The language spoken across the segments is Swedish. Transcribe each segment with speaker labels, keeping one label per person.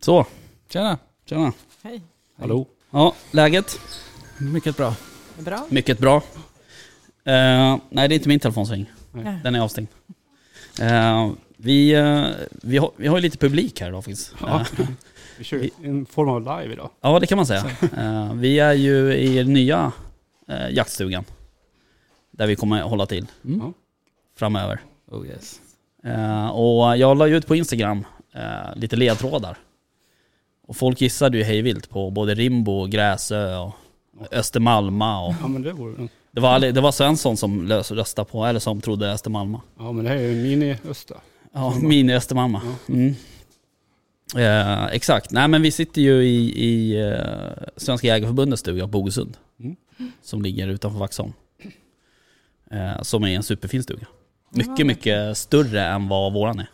Speaker 1: Så. Tjena. Tjena.
Speaker 2: Hej.
Speaker 1: Hallå. Ja, läget?
Speaker 3: Mycket bra.
Speaker 2: Bra.
Speaker 1: Mycket bra. Eh, nej, det är inte min telefon som ringer.
Speaker 2: Nej.
Speaker 1: Den är avstängd. Eh, vi, eh, vi, har, vi har ju lite publik här idag faktiskt.
Speaker 3: Ja.
Speaker 1: Eh,
Speaker 3: Vi kör en form av live idag.
Speaker 1: ja, det kan man säga. Eh, vi är ju i den nya eh, jaktstugan. Där vi kommer hålla till
Speaker 3: Mm.
Speaker 1: framöver.
Speaker 3: Oh yes.
Speaker 1: Eh, och jag la ju ut på Instagram eh, lite ledtrådar. Och folk gissade ju hejvilt på både Rimbo, Gräsö och Östermalma. Och
Speaker 3: Ja men det vore den.
Speaker 1: det, var, aldrig- det var Svensson som lös- röstade på, eller som trodde Östermalma.
Speaker 3: Ja men det här är ju mini-Östa.
Speaker 1: Ja, mini-Östermalma. Mm. Eh, exakt. Nej men vi sitter ju i, i eh, Svenska Jägareförbundets stuga på Bogesund.
Speaker 3: Mm.
Speaker 1: Som ligger utanför Vaxholm. Eh, som är en superfin stuga. Mycket,
Speaker 2: verkligen.
Speaker 1: mycket större än vad våran är.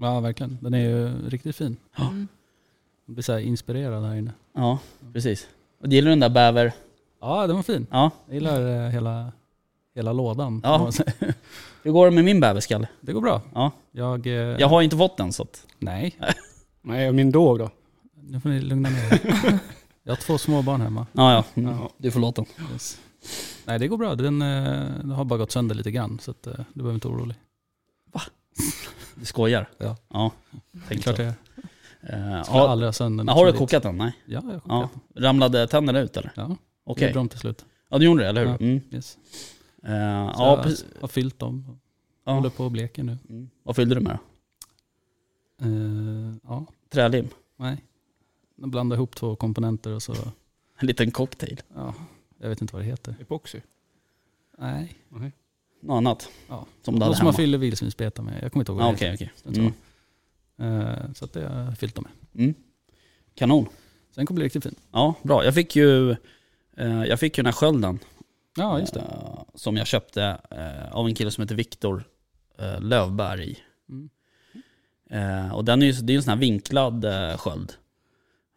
Speaker 4: Ja, verkligen. Den är ju riktigt fin.
Speaker 1: Ja.
Speaker 2: Mm.
Speaker 4: Jag blir så här inspirerad här inne.
Speaker 1: Ja, precis. Och gillar du den där bäver...
Speaker 4: Ja, den var fin.
Speaker 1: Ja.
Speaker 4: Jag gillar eh, hela, hela lådan.
Speaker 1: Ja.
Speaker 4: kan man säga.
Speaker 1: Hur går det med min bäverskalle?
Speaker 4: Det går bra.
Speaker 1: Ja.
Speaker 4: Jag, eh,
Speaker 1: Jag har inte fått den så att...
Speaker 4: Nej,
Speaker 3: Nej och min dog då.
Speaker 4: nu får ni lugna ner er. Jag har två småbarn hemma.
Speaker 1: Ja, ja. Mm.
Speaker 3: Ja.
Speaker 1: Du får låta den.
Speaker 4: Yes. Nej, det går bra. Den, eh, den har bara gått sönder lite grann, så att, eh, du behöver inte vara orolig.
Speaker 1: Du skojar?
Speaker 4: Ja.
Speaker 1: Ja.
Speaker 4: Det är
Speaker 1: Tänkte
Speaker 4: klart
Speaker 1: så.
Speaker 4: jag gör.
Speaker 1: Eh,
Speaker 4: Jag har
Speaker 1: har,
Speaker 4: aldrig ha sönder
Speaker 1: men
Speaker 4: något
Speaker 1: har du
Speaker 4: smidigt.
Speaker 1: kokat den? Nej.
Speaker 4: Ja, jag har
Speaker 1: Ja.
Speaker 4: kokat.
Speaker 1: Ramlade tänderna ut eller?
Speaker 4: Ja.
Speaker 1: Okej.
Speaker 4: Gjorde dem till slut.
Speaker 1: Ja du gjorde det, eller hur?
Speaker 4: Ja.
Speaker 1: Mm.
Speaker 4: Yes.
Speaker 1: Eh,
Speaker 4: Så
Speaker 1: ja,
Speaker 4: jag
Speaker 1: precis.
Speaker 4: har fyllt dem.
Speaker 1: Ja.
Speaker 4: Håller på och bleker nu.
Speaker 1: Mm. Vad fyllde du med då?
Speaker 4: Eh, ja,
Speaker 1: Trälim?
Speaker 4: nej. Jag blandar ihop två komponenter och så
Speaker 1: En liten cocktail?
Speaker 4: Ja, jag vet inte vad det heter.
Speaker 3: Epoxy.
Speaker 4: Nej.
Speaker 1: Något annat?
Speaker 4: Ja.
Speaker 1: Som du
Speaker 4: Något
Speaker 1: hade
Speaker 4: som man
Speaker 1: hemma?
Speaker 4: fyller vildsvinsbeta med. Jag kommer inte ihåg vad
Speaker 1: Ja,
Speaker 4: det
Speaker 1: okej, okej.
Speaker 4: heter.
Speaker 1: Mm.
Speaker 4: Eh, Så att det har jag fyllt dem med.
Speaker 1: Kanon.
Speaker 4: Sen kommer det bli riktigt fint.
Speaker 1: Ja, bra. Jag fick ju, eh, jag fick ju den här skölden
Speaker 4: Ja, just det.
Speaker 1: Eh, som jag köpte eh, av en kille som heter Viktor eh, Lövberg.
Speaker 4: Mm.
Speaker 1: Eh, och den är ju, det är ju en sån här vinklad eh, sköld.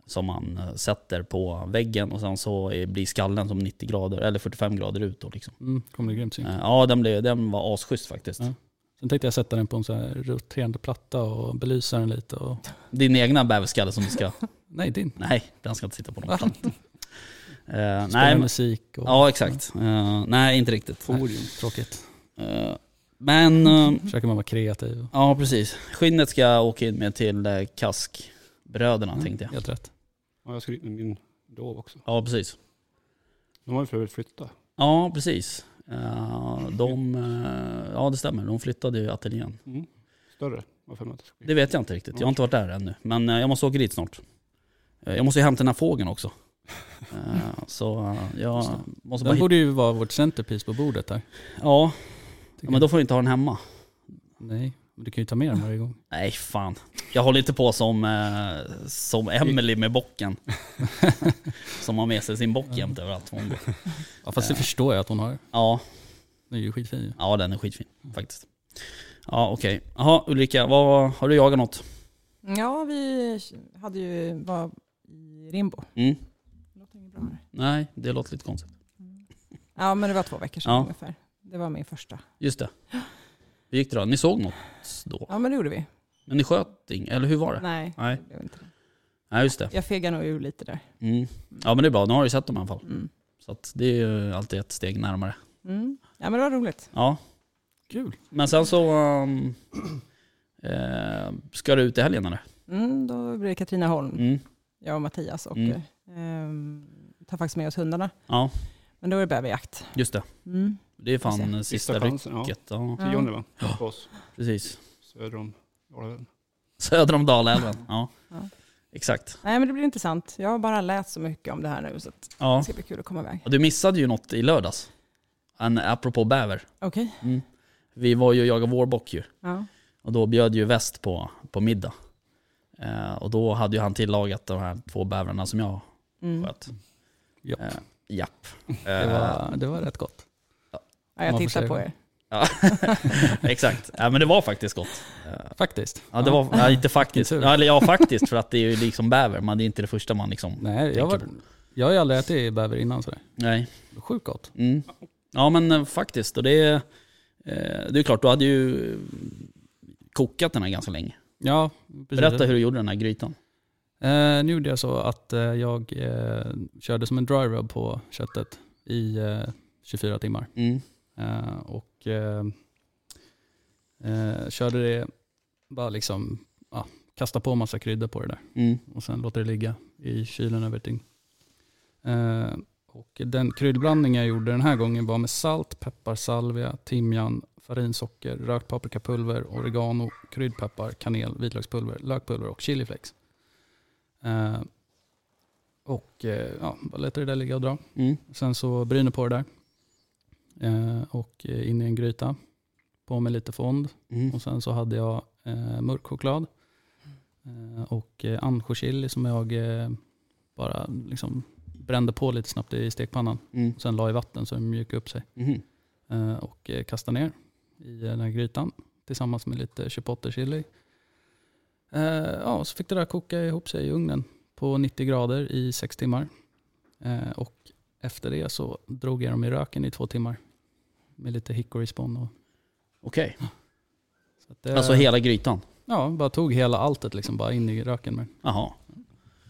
Speaker 1: Som man eh, sätter på väggen och sen så är, blir skallen som 90 grader, eller 45 grader ut då liksom.
Speaker 4: Mm, kommer det grymt fint.
Speaker 1: Eh, ja den, blev, den var asschysst faktiskt.
Speaker 4: Ja. Sen tänkte jag sätta den på en så här roterande platta och belysa den lite. Och...
Speaker 1: Din egna bäverskalle som du ska,
Speaker 4: Nej, din.
Speaker 1: nej den ska inte sitta på någon
Speaker 4: Va?
Speaker 1: platta. Eh,
Speaker 4: Spela
Speaker 1: nej, men,
Speaker 4: musik och...
Speaker 1: ja exakt. Eh, nej inte riktigt.
Speaker 4: Forium. Tråkigt.
Speaker 1: Eh, men eh,
Speaker 4: Försöker man vara kreativ. och-
Speaker 1: Ja, precis. Skinnet ska jag åka in med till eh, kaskbröderna
Speaker 4: Mm.
Speaker 1: tänkte jag.
Speaker 4: Helt rätt.
Speaker 3: Ja jag skrev min dog också.
Speaker 1: Ja, precis.
Speaker 3: De har ju för övrigt flyttat.
Speaker 1: Ja, precis. Eh, de, eh, ja, det stämmer. De flyttade ju ateljén.
Speaker 3: Mm. Större. Vad för mig att det skulle
Speaker 1: Det
Speaker 3: bli.
Speaker 1: vet jag inte riktigt. Jag har inte varit där ännu. Men eh, jag måste åka dit snart. Eh, jag måste ju hämta den här fågeln också. Eh, så eh, jag måste bara
Speaker 4: Den
Speaker 1: hitta...
Speaker 4: borde ju vara vårt centerpiece på bordet här.
Speaker 1: Ja,
Speaker 4: tycker
Speaker 1: ja, men då får jag inte ha den hemma.
Speaker 4: jag. Nej, men du kan ju ta med den varje gång.
Speaker 1: Nej, fan. Jag håller inte på som, eh, som Emily med bocken. som har med sig sin bock jämt överallt. Hon går.
Speaker 4: Ja, fast det förstår jag att hon har.
Speaker 1: Ja,
Speaker 4: Den är ju skitfin ju.
Speaker 1: Ja den är skitfin faktiskt. Ja okej. Jaha Ulrika, vad, har du jagat något?
Speaker 2: Ja, vi hade ju, var i Rimbo.
Speaker 1: Mm.
Speaker 2: Det låter inget bra här.
Speaker 1: Nej, det låter lite konstigt.
Speaker 2: Ja, men det var två veckor sedan
Speaker 1: Ja.
Speaker 2: ungefär. Det var min första.
Speaker 1: Just det. Hur gick det då? Ni såg något då?
Speaker 2: Ja, men det gjorde vi.
Speaker 1: Men ni sköt inget, eller hur var det?
Speaker 2: Nej,
Speaker 1: Nej.
Speaker 2: det blev inte det.
Speaker 1: Nej just det.
Speaker 2: Jag fegade nog ur lite där.
Speaker 1: Mm. Ja men det är bra, nu har du sett dem i alla fall.
Speaker 2: Mm.
Speaker 1: Så att det är ju alltid ett steg närmare.
Speaker 2: Mm. Ja, men det var roligt.
Speaker 1: Ja,
Speaker 4: Kul.
Speaker 1: men sen så um, eh, ska du ut i helgen eller?
Speaker 2: Mm, då blir det Katrineholm,
Speaker 1: Mm.
Speaker 2: jag och Mattias och
Speaker 1: Mm.
Speaker 2: ehm, tar faktiskt med oss hundarna.
Speaker 1: Ja,
Speaker 2: Men då är det bäverjakt.
Speaker 1: just det.
Speaker 2: Mm.
Speaker 1: Det är
Speaker 2: Får
Speaker 1: fan sista rycket.
Speaker 3: chansen. Ja.
Speaker 1: Ja,
Speaker 3: Till Johnny va?
Speaker 1: Ja.
Speaker 3: På oss.
Speaker 1: precis.
Speaker 3: Söder om Dalälven.
Speaker 1: Söder om Dalälven. Ja,
Speaker 2: Ja.
Speaker 1: exakt.
Speaker 2: Nej, men det blir intressant. Jag har bara läst så mycket om det här nu, så att det
Speaker 1: Ja.
Speaker 2: ska bli kul att komma iväg.
Speaker 1: Ja, Du missade ju något i lördags. En, apropå bäver.
Speaker 2: Okej.
Speaker 1: Vi var ju och jagade vårbock ju.
Speaker 2: Ja.
Speaker 1: Och då bjöd ju väst på, på middag. Eh, och då hade ju han tillagat de här två bävrarna som jag
Speaker 2: Mm.
Speaker 1: sköt.
Speaker 4: Japp.
Speaker 1: Eh, japp.
Speaker 4: Det
Speaker 1: Eh,
Speaker 4: var, det var rätt gott.
Speaker 2: Ja, jag
Speaker 4: Man får
Speaker 2: tittar
Speaker 4: se
Speaker 2: på
Speaker 4: det.
Speaker 2: er.
Speaker 1: ja. Exakt. Ja, men det var faktiskt gott. Eh,
Speaker 4: Faktiskt.
Speaker 1: ja, det var, ja, inte faktiskt.
Speaker 4: tur.
Speaker 1: Ja, eller ja, faktiskt för att det är ju liksom bäver. Man, det är inte det första man liksom...
Speaker 4: Nej, jag, var, jag har ju aldrig ätit bäver innan sådär.
Speaker 1: Nej.
Speaker 4: Sjukt gott.
Speaker 1: Mm. Ja men eh, faktiskt. Och det, är- eh, det är ju klart, du hade ju kokat den här ganska länge.
Speaker 4: Ja, precis.
Speaker 1: Berätta hur du gjorde den här grytan.
Speaker 4: Eh, nu gjorde jag så att eh, jag eh, körde som en dry rub på köttet i eh, 24 timmar.
Speaker 1: Mm.
Speaker 4: Eh, och eh, eh, körde det, bara liksom, ja, kasta på massa kryddor på det där.
Speaker 1: Mm.
Speaker 4: Och sen låter det ligga i kylen över ett dygn. Eh, och den kryddblandning jag gjorde den här gången var med salt, peppar, salvia, timjan, farinsocker, rökt paprikapulver, oregano, kryddpeppar, kanel, vitlökspulver, lökpulver och chiliflex. Eh, och eh, ja, bara lät det där ligga och dra.
Speaker 1: Mm.
Speaker 4: Sen så bryner på det där. Eh, och eh, in i en gryta. På med lite fond.
Speaker 1: Mm.
Speaker 4: Och sen så hade jag eh, mörk choklad eh, och eh, ansjochili som jag eh, bara liksom brände på lite snabbt i stekpannan.
Speaker 1: Mm.
Speaker 4: Och sen la i vatten så den mjukade upp sig.
Speaker 1: Mhm.
Speaker 4: Eh, och eh, kastade ner i den här grytan tillsammans med lite chipotle chili. Eh, ja, och så fick det där koka ihop sig i ugnen på 90 grader i 6 timmar. Eh, och efter det så drog jag dem i röken i två timmar med lite hickory spawn. Och,
Speaker 1: Okej,
Speaker 4: så att det-
Speaker 1: alltså hela grytan.
Speaker 4: Ja, bara tog hela alltet liksom bara in i röken. Med.
Speaker 1: Jaha,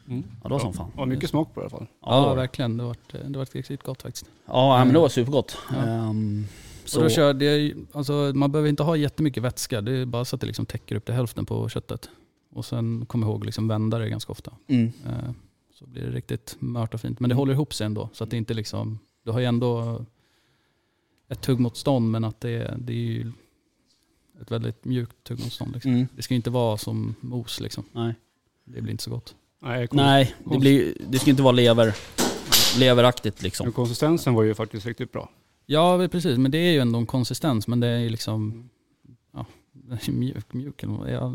Speaker 3: Mm.
Speaker 1: ja, det var som fan.
Speaker 3: Ja, mycket smak på det i alla fall.
Speaker 1: Ja, det
Speaker 4: Ja,
Speaker 1: var det. Mm.
Speaker 4: verkligen. Det var, det var riktigt gott faktiskt.
Speaker 1: ja men det var supergott.
Speaker 4: Ja.
Speaker 1: Ehm,
Speaker 4: Och
Speaker 1: så,
Speaker 4: då körde jag, ju- alltså, man behöver inte ha jättemycket vätska. Det är bara så att det liksom täcker upp till hälften på köttet. Och sen kom ihåg liksom vända det ganska ofta.
Speaker 1: mm,
Speaker 4: Eh, Så blir det riktigt mört och fint. Men det håller ihop sig ändå. Så att det inte liksom, du har ju ändå ett tuggmotstånd men att det, det är ju ett väldigt mjukt tuggmotstånd. Liksom.
Speaker 1: mm,
Speaker 4: Det ska ju inte vara som mos liksom.
Speaker 1: nej.
Speaker 4: Det blir inte så gott.
Speaker 3: Nej, konsist-
Speaker 1: nej, det,
Speaker 3: konst-
Speaker 1: blir, det ska inte vara lever, leveraktigt liksom.
Speaker 3: Men konsistensen var ju faktiskt riktigt bra.
Speaker 4: Ja, väl precis. Men det är ju ändå en konsistens. Men det är ju liksom ja, den är mjuk. mjuk eller vad- ja,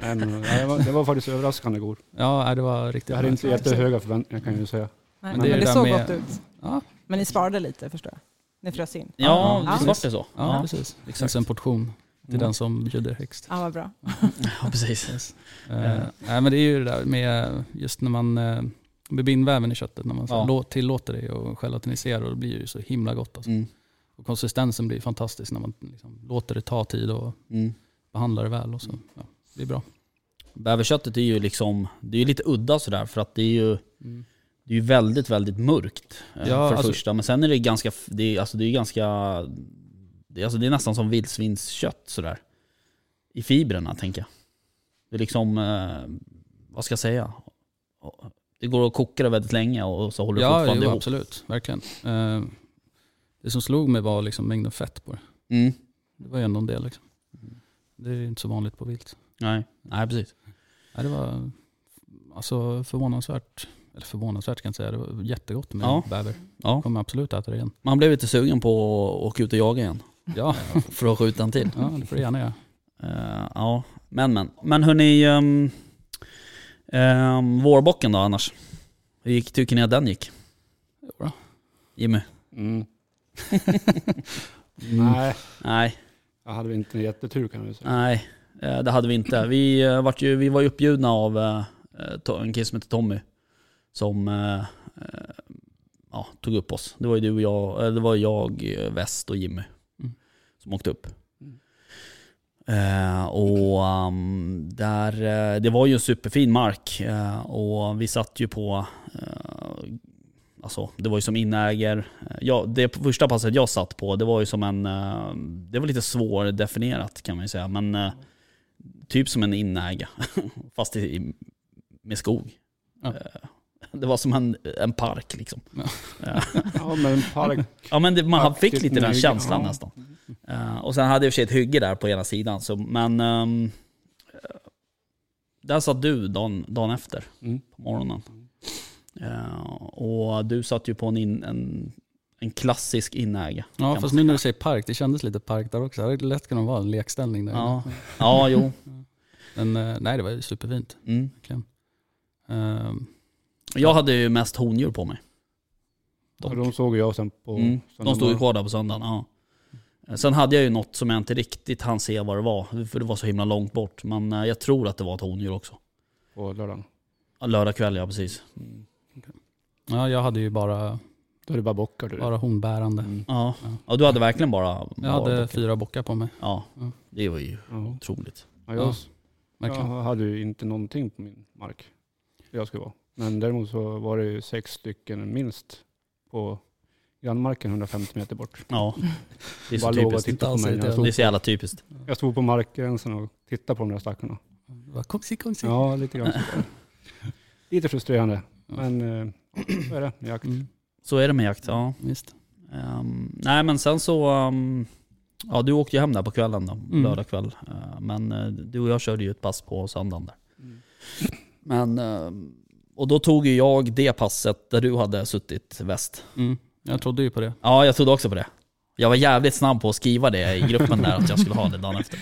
Speaker 3: Nej, men, eh, nej, det, var, det var faktiskt överraskande god.
Speaker 4: ja, nej, det var riktigt
Speaker 3: Jag hade
Speaker 4: bra.
Speaker 3: inte jättehöga förväntningar kan jag ju säga.
Speaker 2: Nej,
Speaker 4: Men
Speaker 2: men
Speaker 4: det är
Speaker 2: det,
Speaker 4: det där
Speaker 2: såg
Speaker 4: med-
Speaker 2: gott ut.
Speaker 4: Ja.
Speaker 2: Men ni sparade lite förstår jag. Ni frös in.
Speaker 1: Ja,
Speaker 4: Ja,
Speaker 1: visst vart det så?
Speaker 4: Ja, precis.
Speaker 1: exakt.
Speaker 4: Exakt. En portion Liksom, till
Speaker 3: Mm.
Speaker 4: den som bjuder högst.
Speaker 2: Ja, vad bra.
Speaker 1: ja precis.
Speaker 4: Eh, nej, men det är ju det där med just när man eh, med bindväven i köttet, när man så här
Speaker 1: Ja.
Speaker 4: lå- tillåter det och gelatinisera och det blir ju så himla gott. Alltså.
Speaker 1: Mm,
Speaker 4: Och konsistensen blir fantastisk när man liksom låter det ta tid och
Speaker 1: mm.
Speaker 4: behandlar det väl. Och så. Ja, det blir bra.
Speaker 1: Bäverköttet är ju liksom, det är ju lite udda sådär för att det är ju
Speaker 4: Mm.
Speaker 1: det är ju väldigt, väldigt mörkt eh,
Speaker 4: Ja,
Speaker 1: för det
Speaker 4: alltså-
Speaker 1: första. Men sen är det ganska, f- det är, alltså det är ganska, det är, alltså det är nästan som vildsvinskött sådär. I fibrerna tänker jag. Det är liksom, eh, vad ska jag säga? Det går att koka det väldigt länge och och så håller det
Speaker 4: Ja,
Speaker 1: fortfarande
Speaker 4: jo,
Speaker 1: ihop.
Speaker 4: absolut. Verkligen. Eh, det som slog mig var liksom mängden fett på det.
Speaker 1: Mm.
Speaker 4: Det var ju ändå en del. Liksom. Det är ju inte så vanligt på vilt.
Speaker 1: Nej. Nej, precis.
Speaker 4: Nej, det var alltså, förvånansvärt, eller förvånansvärt kan jag säga, det var jättegott med
Speaker 1: Ja.
Speaker 4: bäver.
Speaker 1: Ja.
Speaker 4: Jag kommer absolut äta det igen.
Speaker 1: Man blev lite sugen på att åka ut och jaga igen.
Speaker 4: Ja,
Speaker 1: För att skjuta en till.
Speaker 4: ja det får du gärna göra.
Speaker 1: Eh, ja, men men. Men hörni, um, vårbocken då annars? Hur gick, tycker ni att den gick?
Speaker 4: Jo då.
Speaker 1: Jimmy?
Speaker 3: Mm. Nej,
Speaker 1: Nej,
Speaker 3: jag hade väl inte en jättetur kan jag ju säga.
Speaker 1: nej, eh, det hade vi inte. Vi, eh, vart ju, vi var ju uppbjudna av eh, eh, to- en kille som heter Tommy. Som eh, eh, ja, tog upp oss. Det var ju du och jag, eh, det var jag, eh, Väst och Jimmy.
Speaker 4: Mm.
Speaker 1: Som åkte upp.
Speaker 3: Mm.
Speaker 1: Eh, och ehm, där, eh, det var ju en superfin mark. eh, och vi satt ju på eh, Alltså, det var ju som inäger. Ja, det första passet jag satt på, det var ju som en... eh, Det var lite svårdefinierat kan man ju säga, men eh, typ som en inäga. Fast i, i- med skog.
Speaker 4: Ja.
Speaker 1: Eh, Det var som en, en park liksom.
Speaker 4: Ja.
Speaker 1: Eh,
Speaker 3: Ja, men park.
Speaker 1: Ja men det, man fick
Speaker 3: Aktivt
Speaker 1: lite den
Speaker 3: nöje,
Speaker 1: känslan
Speaker 3: ja.
Speaker 1: nästan. Eh, och sen hade jag i och för sig ett hygge där på ena sidan, så, men... ehm, eh, där satt du dagen, dagen efter
Speaker 3: Mm.
Speaker 1: på morgonen. Eh, och du satt ju på en, in, en, en klassisk inäga.
Speaker 4: Ja,
Speaker 1: man
Speaker 4: fast nu när du säger park, det kändes lite park där också. Det hade lätt kunnat vara en lekställning där.
Speaker 1: Ja, ja jo.
Speaker 4: Men eh, nej, det var ju superfint.
Speaker 1: Mm.
Speaker 4: Verkligen. Ehm,
Speaker 1: Jag hade ju mest hondjur på mig.
Speaker 3: Och de såg jag sen på
Speaker 1: Mm. De
Speaker 3: söndag
Speaker 1: stod ju
Speaker 3: morgon.
Speaker 1: kvar där på söndagen. Ja. Eh, Sen hade jag ju något som jag inte riktigt hann se vad det var, för det var så himla långt bort. Men eh, jag tror att det var ett hondjur också.
Speaker 3: på lördagen.
Speaker 1: Ja, Lördag kväll, ja precis.
Speaker 4: ja, jag hade ju bara,
Speaker 3: Då är det bara bockar du.
Speaker 4: bara honbärande.
Speaker 3: Mm.
Speaker 1: Ja.
Speaker 4: Ja.
Speaker 1: ja, du hade verkligen bara...
Speaker 4: Jag hade fyra bockar på mig.
Speaker 1: Ja,
Speaker 4: Ja.
Speaker 1: det var ju
Speaker 3: Ja.
Speaker 1: otroligt.
Speaker 3: Ja,
Speaker 4: Ja.
Speaker 3: jag, Jag
Speaker 4: verkligen.
Speaker 3: hade ju inte någonting på min mark. där Jag skulle vara. Men däremot så var det ju sex stycken minst på grannmarken 150 meter bort.
Speaker 1: Ja, det är så
Speaker 3: Bara låg och
Speaker 1: typiskt.
Speaker 3: tittade på
Speaker 4: Inte
Speaker 3: mig. Jag
Speaker 4: alls
Speaker 1: Det är
Speaker 3: stod,
Speaker 1: så jävla typiskt.
Speaker 3: jag stod på markgränsen och tittade på de där stackarna.
Speaker 4: Vad konstigt, konstigt.
Speaker 3: Ja, lite grann. så var det. Lite frustrerande. Men eh, så är det med jakt.
Speaker 4: Mm,
Speaker 1: Så är det med jakt, ja.
Speaker 4: visst.
Speaker 1: Ehm, nej men sen så, ehm, ja du åkte ju hem där på kvällen då, lördag kväll. Eh, men eh, du och jag körde ju ett pass på söndagen där. Men, ehm, och då tog ju jag det passet där du hade suttit väst.
Speaker 4: Mm. Jag trodde ju på det.
Speaker 1: Ja, jag trodde också på det. Jag var jävligt snabb på att skriva det i gruppen där, att jag skulle ha det dagen efter.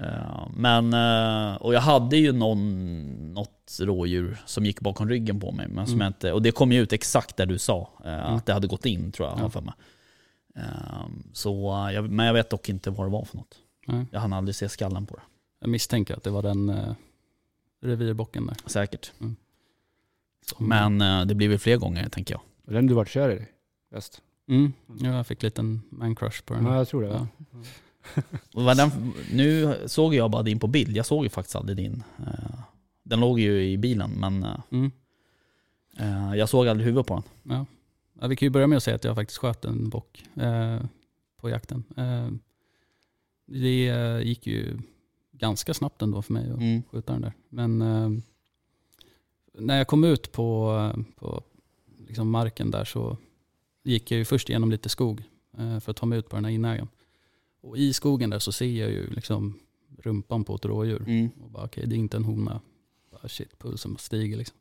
Speaker 1: Eh, Men, eh, och jag hade ju någon, något rådjur som gick bakom ryggen på mig. Men som jag inte, och det kom ju ut exakt där du sa, eh, att det hade gått in tror jag. har jag för mig. Eh, Så, eh, jag- men jag vet dock inte vad det var för något.
Speaker 4: Nej.
Speaker 1: Jag hann aldrig se skallen på det.
Speaker 4: Jag misstänker att det var den eh, revirbocken där.
Speaker 1: Säkert.
Speaker 4: Som,
Speaker 1: Men eh, det blir väl fler gånger tänker jag.
Speaker 3: Och Den du vart kär i bäst?
Speaker 4: Mm, ja, jag fick en liten man-crush på den.
Speaker 3: Ja, jag tror det.
Speaker 4: Ja.
Speaker 3: Ja.
Speaker 1: Och vad Den, nu såg jag bara din på bild. Jag såg ju faktiskt aldrig din. Eh, Den låg ju i bilen men eh,
Speaker 4: Mm.
Speaker 1: Eh, Jag såg aldrig huvudet på den.
Speaker 4: Ja, vi kan ju börja med att säga att jag faktiskt sköt en bock eh, på jakten. Eh, det eh, gick ju ganska snabbt ändå för mig att
Speaker 1: Mm.
Speaker 4: skjuta den där. Men eh, när jag kom ut på, på liksom marken där så gick jag ju först igenom lite skog eh, för att ta mig ut på den här inägen. Och i skogen där så ser jag ju liksom rumpan på ett rådjur.
Speaker 1: Mm.
Speaker 4: Och bara okej, det är inte en hona. Bara, shit, pulsen bara stiger liksom.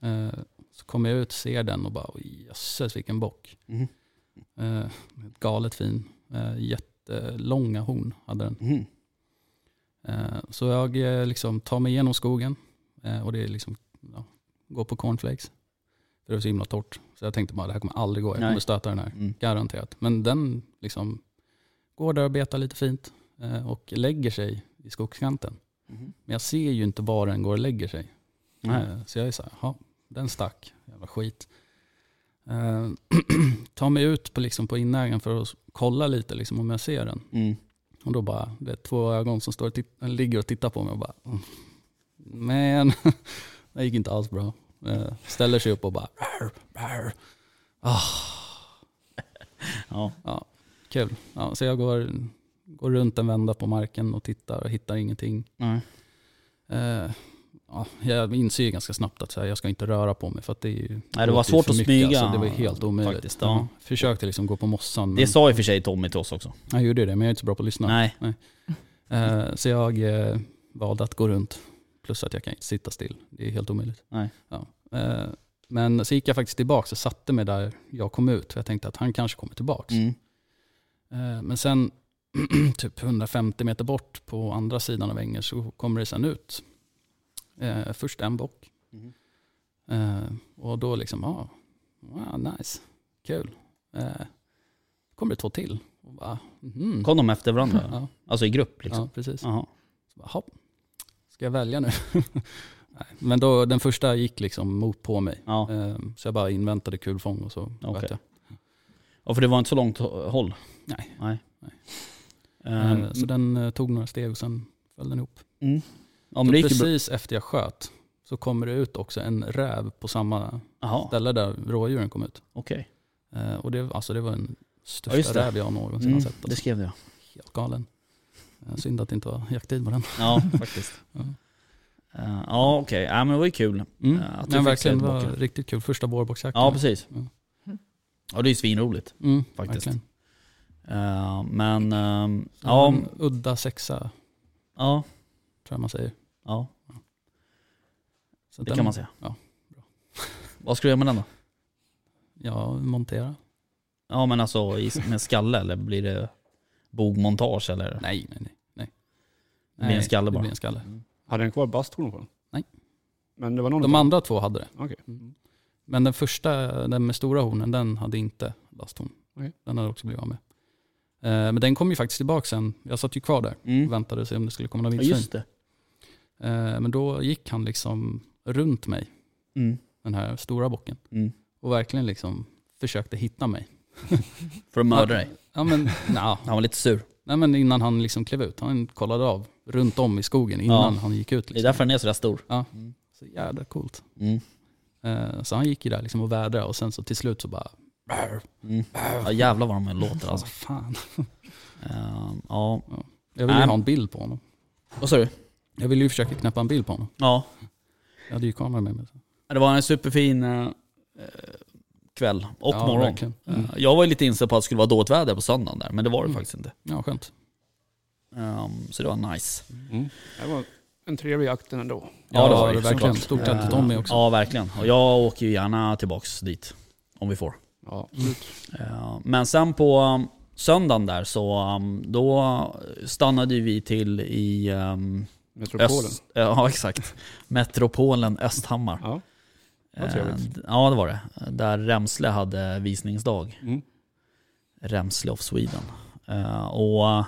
Speaker 4: Eh, så kommer jag ut, ser den och bara "Oj, jösses vilken bock.
Speaker 1: Mm.
Speaker 4: Eh, galet fin. Eh, jättelånga horn hade den.
Speaker 1: Mm.
Speaker 4: Eh, så jag eh, liksom tar mig igenom skogen eh, och det är liksom, ja, går på cornflakes. För det var så himla torrt. Så jag tänkte bara det här kommer aldrig gå, jag
Speaker 1: Nej.
Speaker 4: kommer stöta den här.
Speaker 1: Mm.
Speaker 4: Garanterat. Men den liksom går där och betar lite fint eh, och lägger sig i skogskanten.
Speaker 1: Mhm.
Speaker 4: Men jag ser ju inte var den går och lägger sig.
Speaker 1: Nej.
Speaker 4: Eh, Så jag är så här, "Jaha, den stack, jävla skit. Eh, Ta mig ut på, liksom, på inägen för att kolla lite liksom, om jag ser den.
Speaker 1: Mm.
Speaker 4: Och då bara, det är två ögon som står och titt- ligger och tittar på mig och bara, "Mm, men det gick inte alls bra. Eh, Ställer sig upp och bara, Ah. "Rar, rar."
Speaker 1: Ja.
Speaker 4: kul. Ja, så jag går, går runt en vända på marken och tittar och hittar ingenting.
Speaker 1: Nej.
Speaker 4: Eh, ja, jag inser ju ganska snabbt att så här, jag ska inte röra på mig för att det är ju...
Speaker 1: var
Speaker 4: låter ju
Speaker 1: svårt
Speaker 4: för
Speaker 1: att
Speaker 4: mycket,
Speaker 1: smyga,
Speaker 4: Alltså, det var ju helt omöjligt.
Speaker 1: faktiskt, ja.
Speaker 4: ja. Försökte liksom gå på mossan men
Speaker 1: Det sa i och för sig Tommy till oss också.
Speaker 4: jag gjorde det men jag är inte så bra på att lyssna.
Speaker 1: Nej.
Speaker 4: Eh, så jag eh, valde att gå runt. Plus att jag kan inte sitta still. Det är helt omöjligt.
Speaker 1: Nej.
Speaker 4: Ja. Eh, men så gick jag faktiskt tillbaka och satte mig där jag kom ut. För jag tänkte att han kanske kommer tillbaka.
Speaker 1: Mm.
Speaker 4: Eh, Men sen typ 150 meter bort på andra sidan av ängen så kommer det sen ut eh, först en bock.
Speaker 1: Mhm.
Speaker 4: Eh, och då liksom, ja, ah, nice, kul. Eh, kommer det två till. Och bara, mhm.
Speaker 1: Kom de efter varandra?
Speaker 4: ja,
Speaker 1: Alltså i grupp liksom?
Speaker 4: ja, precis.
Speaker 1: Jaha.
Speaker 4: Så bara, hopp. Ska jag välja nu? Nej, Men då, den första gick liksom mot på mig.
Speaker 1: Ja.
Speaker 4: Eh, Så jag bara inväntade kulfång och så
Speaker 1: Okej.
Speaker 4: sköt jag.
Speaker 1: ja, för det var inte så långt hå- håll?
Speaker 4: Nej.
Speaker 1: Nej.
Speaker 4: Nej.
Speaker 1: Ehm,
Speaker 4: Eh, Så den eh, tog några steg och sen föll den ihop.
Speaker 1: ja, men
Speaker 4: Så
Speaker 1: det gick ju bra.
Speaker 4: precis efter jag sköt så kommer det ut också en räv på samma
Speaker 1: Jaha,
Speaker 4: ställe där rådjuren kom ut.
Speaker 1: okej.
Speaker 4: Eh, och det, alltså det var den
Speaker 1: Ja, just
Speaker 4: största
Speaker 1: det.
Speaker 4: räv jag någonsin
Speaker 1: Mm,
Speaker 4: har sett.
Speaker 1: det
Speaker 4: Alltså.
Speaker 1: skrev jag.
Speaker 4: Helt galen. Eh, synd att det inte var jakttid på den.
Speaker 1: Ja, faktiskt.
Speaker 4: Ja.
Speaker 1: Eh, Ja, okej. Ja, men det var ju kul.
Speaker 4: Mm.
Speaker 1: Ja, att du
Speaker 4: Men
Speaker 1: fick
Speaker 4: verkligen,
Speaker 1: se
Speaker 4: det var
Speaker 1: bocken.
Speaker 4: riktigt kul. Första vårbocksjakten.
Speaker 1: Ja, precis.
Speaker 4: Mm.
Speaker 1: Ja, det är ju svinroligt.
Speaker 4: mm,
Speaker 1: faktiskt.
Speaker 4: verkligen.
Speaker 1: Eh, Men, ehm,
Speaker 4: Så
Speaker 1: ja.
Speaker 4: En udda sexa
Speaker 1: Ja,
Speaker 4: tror jag man säger.
Speaker 1: ja,
Speaker 4: Så
Speaker 1: det kan man säga.
Speaker 4: Ja,
Speaker 1: Vad ska du göra med den då?
Speaker 4: Ja, montera.
Speaker 1: Ja men alltså i- med skalle eller blir det bogmontage eller?
Speaker 4: Nej, nej, nej. nej.
Speaker 1: Det blir en skalle
Speaker 4: det
Speaker 1: bara.
Speaker 4: blir en skalle.
Speaker 3: Hade den kvar basthorn på den?
Speaker 4: Nej.
Speaker 3: Men det var någon
Speaker 4: De
Speaker 3: av-
Speaker 4: andra två hade det.
Speaker 3: Okej.
Speaker 4: Mm. Men den första, den med stora hornen, den hade inte lasthorn.
Speaker 3: Okej.
Speaker 4: Den hade också blivit av med. Eh, Men den kom ju faktiskt tillbaka sen. Jag satt ju kvar där och
Speaker 1: Mm.
Speaker 4: väntade och se om det skulle komma någon
Speaker 1: Ja,
Speaker 4: vildsvin.
Speaker 1: just det.
Speaker 4: Eh, Men då gick han liksom runt mig,
Speaker 1: Mm.
Speaker 4: den här stora bocken.
Speaker 1: Mm.
Speaker 4: Och verkligen liksom försökte hitta mig.
Speaker 1: För att mörda dig.
Speaker 4: Ja men nja,
Speaker 1: Han var lite sur.
Speaker 4: Nej men innan han liksom klev ut. Han kollade av runt om i skogen innan
Speaker 1: Ja.
Speaker 4: han gick ut.
Speaker 1: Det är
Speaker 4: Liksom.
Speaker 1: därför den är sådär stor.
Speaker 4: Ja. Så jävla coolt.
Speaker 1: Mm.
Speaker 4: Eh, Så han gick ju där liksom och vädrade och sen så till slut så bara,
Speaker 1: Mm. Ja, jävlar vad de låter
Speaker 4: alltså
Speaker 1: alltså.
Speaker 4: fan.
Speaker 1: Eh, ja.
Speaker 4: Jag ville ju
Speaker 1: Nej.
Speaker 4: ha en bild på honom.
Speaker 1: Vad sa du?
Speaker 4: Jag ville ju försöka knäppa en bild på honom.
Speaker 1: Ja,
Speaker 4: Jag hade ju kamera med mig.
Speaker 1: det var en superfin eh, eh, kväll och
Speaker 4: ja,
Speaker 1: morgon.
Speaker 4: Verkligen. Mm.
Speaker 1: Eh, Jag var ju lite inställd på att det skulle vara dåligt väder på söndagen där, men det var det
Speaker 4: Mm.
Speaker 1: faktiskt inte.
Speaker 4: Ja, skönt.
Speaker 1: Ehm, så det var nice.
Speaker 3: Det var en trevlig jakt ändå.
Speaker 4: Ja, det var det
Speaker 1: såklart.
Speaker 4: verkligen. Stort tack till
Speaker 1: Eh,
Speaker 4: Tommy också.
Speaker 1: Ja, verkligen. Och jag åker ju gärna tillbaks dit, om vi får.
Speaker 3: Ja, absolut.
Speaker 1: Eh, Men sen på um, söndagen där så um, då stannade ju vi till i um,
Speaker 3: Metropolen.
Speaker 1: Öst, eh, ja, exakt. metropolen Östhammar.
Speaker 3: Ja.
Speaker 1: Eh,
Speaker 3: vad trevligt.
Speaker 1: d- Ja, det var det. Där Remsle hade visningsdag.
Speaker 3: Mm.
Speaker 1: Remsle of Sweden. Eh, Och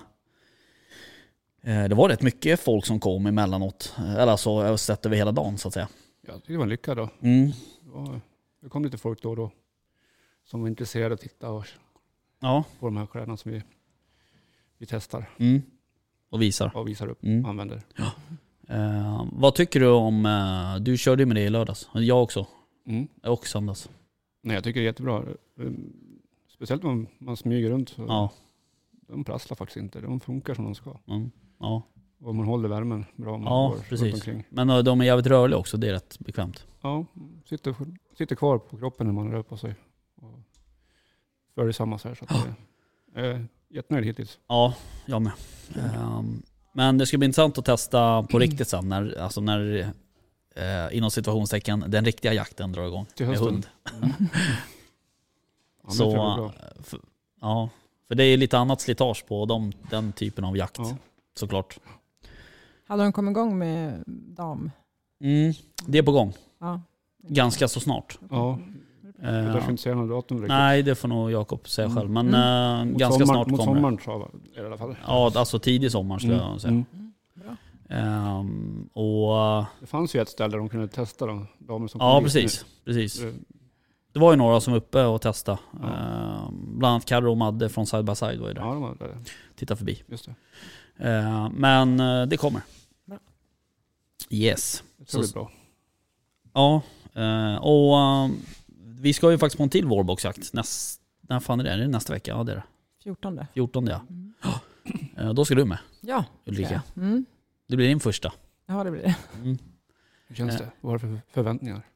Speaker 1: eh, det var rätt mycket folk som kom emellanåt. Eller alltså sett över hela dagen så att säga.
Speaker 3: Jag tyckte det var en lyckad dag.
Speaker 1: Mm.
Speaker 3: Det, var, det kom lite folk då och då som var intresserade att titta och-
Speaker 1: Ja.
Speaker 3: på de här kläderna som vi, vi testar
Speaker 1: Mm. Och visar.
Speaker 3: och visar upp
Speaker 1: Mm.
Speaker 3: och använder.
Speaker 1: Eh, vad tycker du om, eh, du körde ju med det i lördags, jag också,
Speaker 3: Mm.
Speaker 1: och söndags.
Speaker 3: Nej, jag tycker det är jättebra. Mm, Speciellt om man smyger runt. Så
Speaker 1: Ja,
Speaker 3: De prasslar faktiskt inte. De funkar som de ska.
Speaker 1: mm, ja.
Speaker 3: Och man håller värmen bra om man
Speaker 1: Ja,
Speaker 3: går runt
Speaker 1: precis.
Speaker 3: omkring.
Speaker 1: Men eh, de är jävligt rörliga också, det är rätt bekvämt.
Speaker 3: Ja, sitter, sitter kvar på kroppen när man rör på sig. Och följer samma så här. Så att
Speaker 1: Ah.
Speaker 3: det, jag är jättenöjd hittills.
Speaker 1: Ja, jag med. Ehm, men det ska bli intressant att testa på riktigt sen, när, alltså när eh, inom situationstecken den riktiga jakten drar igång.
Speaker 3: Till
Speaker 1: Med
Speaker 3: hösten. Mm.
Speaker 1: hund.
Speaker 3: Ja, men
Speaker 1: Så,
Speaker 3: jag tror det blir bra.
Speaker 1: eh, för, ja, för det är lite annat slitage på de, den typen av jakt
Speaker 3: Ja.
Speaker 1: såklart.
Speaker 2: Hade de kommit igång med dam?
Speaker 1: Mm, det är på gång,
Speaker 2: Ja.
Speaker 1: ganska så snart.
Speaker 3: Ja, jag
Speaker 1: Ehm,
Speaker 3: törs inte säga något datum riktigt.
Speaker 1: Nej, det får nog Jakob säga
Speaker 2: Mm.
Speaker 1: själv. Men eh,
Speaker 3: Mot
Speaker 1: ganska
Speaker 3: sommaren-
Speaker 1: snart
Speaker 3: Mot
Speaker 1: kommer det.
Speaker 3: sommaren tror jag är det i alla fall.
Speaker 1: Ja, alltså tidig sommar skulle
Speaker 3: Mm,
Speaker 1: jag säga.
Speaker 3: mm.
Speaker 2: Mm. Bra.
Speaker 1: Ehm, och, eh,
Speaker 3: Det fanns ju ett ställe där de kunde testa de damer som
Speaker 1: ja,
Speaker 3: kom hit
Speaker 1: precis, precis.
Speaker 3: nu.
Speaker 1: Det var ju några som var uppe och testade.
Speaker 3: Eh. Ja.
Speaker 1: Ehm, bland annat Carro och Madde från Side by Side var ju där.
Speaker 3: Ja, de var där.
Speaker 1: Titta förbi.
Speaker 3: Just det.
Speaker 1: Ehm, men eh, det kommer.
Speaker 2: Bra.
Speaker 1: Yes.
Speaker 3: Jag tror
Speaker 1: Så-
Speaker 3: det blir bra.
Speaker 1: Ja, eh, och eh, vi ska ju faktiskt på en till vårboxjakt. Näst, när fan är det? Är det nästa vecka? Ja, det är det.
Speaker 2: 14.
Speaker 1: 14 ja.
Speaker 2: Mm.
Speaker 1: Eh, då ska du med
Speaker 2: Ja,
Speaker 1: Ulrika.
Speaker 2: ska jag. Mm.
Speaker 1: Det blir din första.
Speaker 2: Ja, det blir det.
Speaker 1: Mm.
Speaker 3: Hur känns det? Vad har du för förväntningar?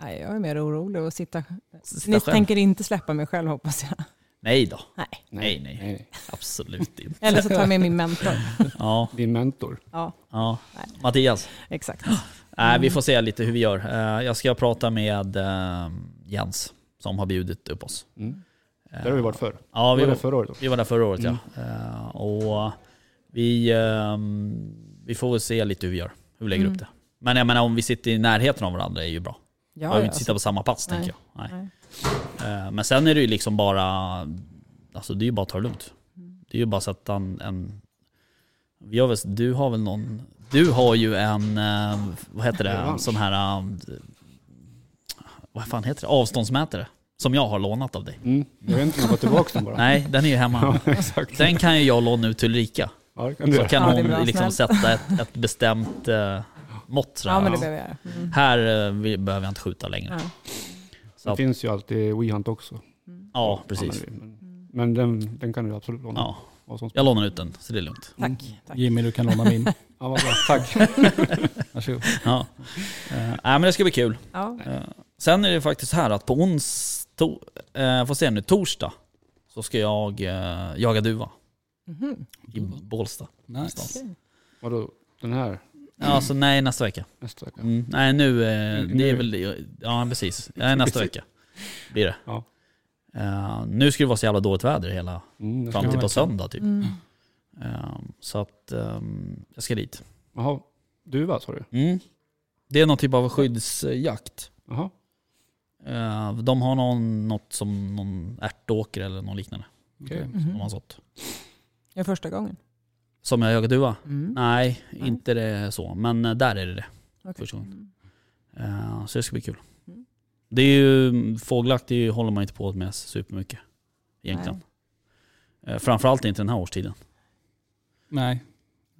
Speaker 2: Nej, jag är mer orolig att sitta...
Speaker 1: Sitta
Speaker 2: Ni
Speaker 1: själv.
Speaker 2: tänker inte släppa mig själv hoppas jag.
Speaker 1: Nej då, Nej, nej.
Speaker 3: nej.
Speaker 1: absolut inte.
Speaker 2: Eller så tar jag med min mentor.
Speaker 1: Ja,
Speaker 3: Din mentor.
Speaker 2: Ja,
Speaker 1: ja.
Speaker 2: Nej.
Speaker 1: Mattias,
Speaker 2: exakt.
Speaker 1: äh,
Speaker 3: Mm.
Speaker 1: vi får se lite hur vi gör. Eh, jag ska prata med eh, Jens som har bjudit upp oss.
Speaker 3: Mm.
Speaker 1: Eh,
Speaker 3: Där har vi varit förr.
Speaker 1: Ja, vi
Speaker 3: var
Speaker 1: var,
Speaker 3: det förra året då.
Speaker 1: vi var där förra året
Speaker 3: Mm.
Speaker 1: ja. Eh, och vi, ehm, vi får väl se lite hur vi gör, hur vi lägger
Speaker 2: Mm.
Speaker 1: upp det. Men jag menar om vi sitter i närheten av varandra är ju bra.
Speaker 2: Ja,
Speaker 1: Jag behöver
Speaker 2: ja, alltså,
Speaker 1: inte sitta på samma pass tänker jag. Nej.
Speaker 2: Nej.
Speaker 1: Eh, Men sen är det ju liksom bara, alltså det är ju bara att ta det lugnt.
Speaker 2: Mm.
Speaker 1: Det är ju bara att sätta en, en vi har väl, du har väl någon, du har ju en, eh, vad heter det, en
Speaker 3: Revansch.
Speaker 1: sån här, eh, vad fan heter det, avståndsmätare. Som jag har lånat av dig.
Speaker 3: Mm. Jag vet inte om jag får tillbaka den bara.
Speaker 1: Nej, den är ju hemma.
Speaker 3: exakt.
Speaker 1: Den kan ju jag låna ut till Ulrika.
Speaker 3: Ja, det kan du
Speaker 1: Så
Speaker 3: göra.
Speaker 1: kan
Speaker 2: Ja, det är
Speaker 1: hon
Speaker 2: bra,
Speaker 1: liksom sätta ett, ett bestämt eh, mått. sådär.
Speaker 2: Ja, men det behöver jag göra. Mm.
Speaker 1: Här eh, vi- behöver jag inte skjuta längre.
Speaker 2: Ja.
Speaker 1: Så
Speaker 3: Det
Speaker 1: att,
Speaker 3: finns ju alltid WeHunt också.
Speaker 2: Mm.
Speaker 1: ja, precis.
Speaker 3: Men,
Speaker 2: Mm.
Speaker 3: men den, den kan du absolut låna.
Speaker 1: Ja,
Speaker 3: Vad som-
Speaker 1: jag lånar ut den, så det är lugnt.
Speaker 2: Tack. tack.
Speaker 4: Jimmy, du kan låna min.
Speaker 3: Ja, vad bra. Tack.
Speaker 4: Varsågod.
Speaker 1: Ja. Eh, nej, men det ska bli kul.
Speaker 2: Ja.
Speaker 1: Eh, Sen är det faktiskt här att på ons... To, eh, får se nu, torsdag så ska jag eh, jaga duva
Speaker 2: Mhm.
Speaker 1: i Bålsta. Alltså,
Speaker 4: Nice.
Speaker 3: Vadå, den här
Speaker 1: Ja, Alltså nej, nästa vecka.
Speaker 3: nästa vecka?
Speaker 1: Mm. Nej nu, eh,
Speaker 3: Nu-
Speaker 1: det är
Speaker 3: nu.
Speaker 1: väl... Ja precis, nej, nästa vecka blir det.
Speaker 3: Ja.
Speaker 1: Eh, nu ska det vara så jävla dåligt väder hela
Speaker 3: Mm, nästa
Speaker 1: fram till
Speaker 3: vecka.
Speaker 1: på söndag typ.
Speaker 2: Mm.
Speaker 1: Eh, så att ehm, jag ska dit.
Speaker 3: Jaha, duva sa du?
Speaker 1: Mm. Det är någon typ av skyddsjakt.
Speaker 3: Jaha,
Speaker 1: Eh, de har någon, något som någon ärtåker eller något liknande.
Speaker 3: okej.
Speaker 1: som de har
Speaker 2: Mhm.
Speaker 1: sått.
Speaker 2: Det är första gången.
Speaker 1: Som jag jagar duva?
Speaker 2: Mm.
Speaker 1: Nej,
Speaker 2: Nej.
Speaker 1: inte det så. Men eh, där är det det.
Speaker 2: Okej.
Speaker 1: första gången.
Speaker 2: Mm.
Speaker 1: Eh, Så det ska bli kul.
Speaker 2: Mm.
Speaker 1: Det är ju, fågeljakt det är ju- håller man inte på med supermycket egentligen. Eh, Framförallt inte den här årstiden.
Speaker 4: Nej,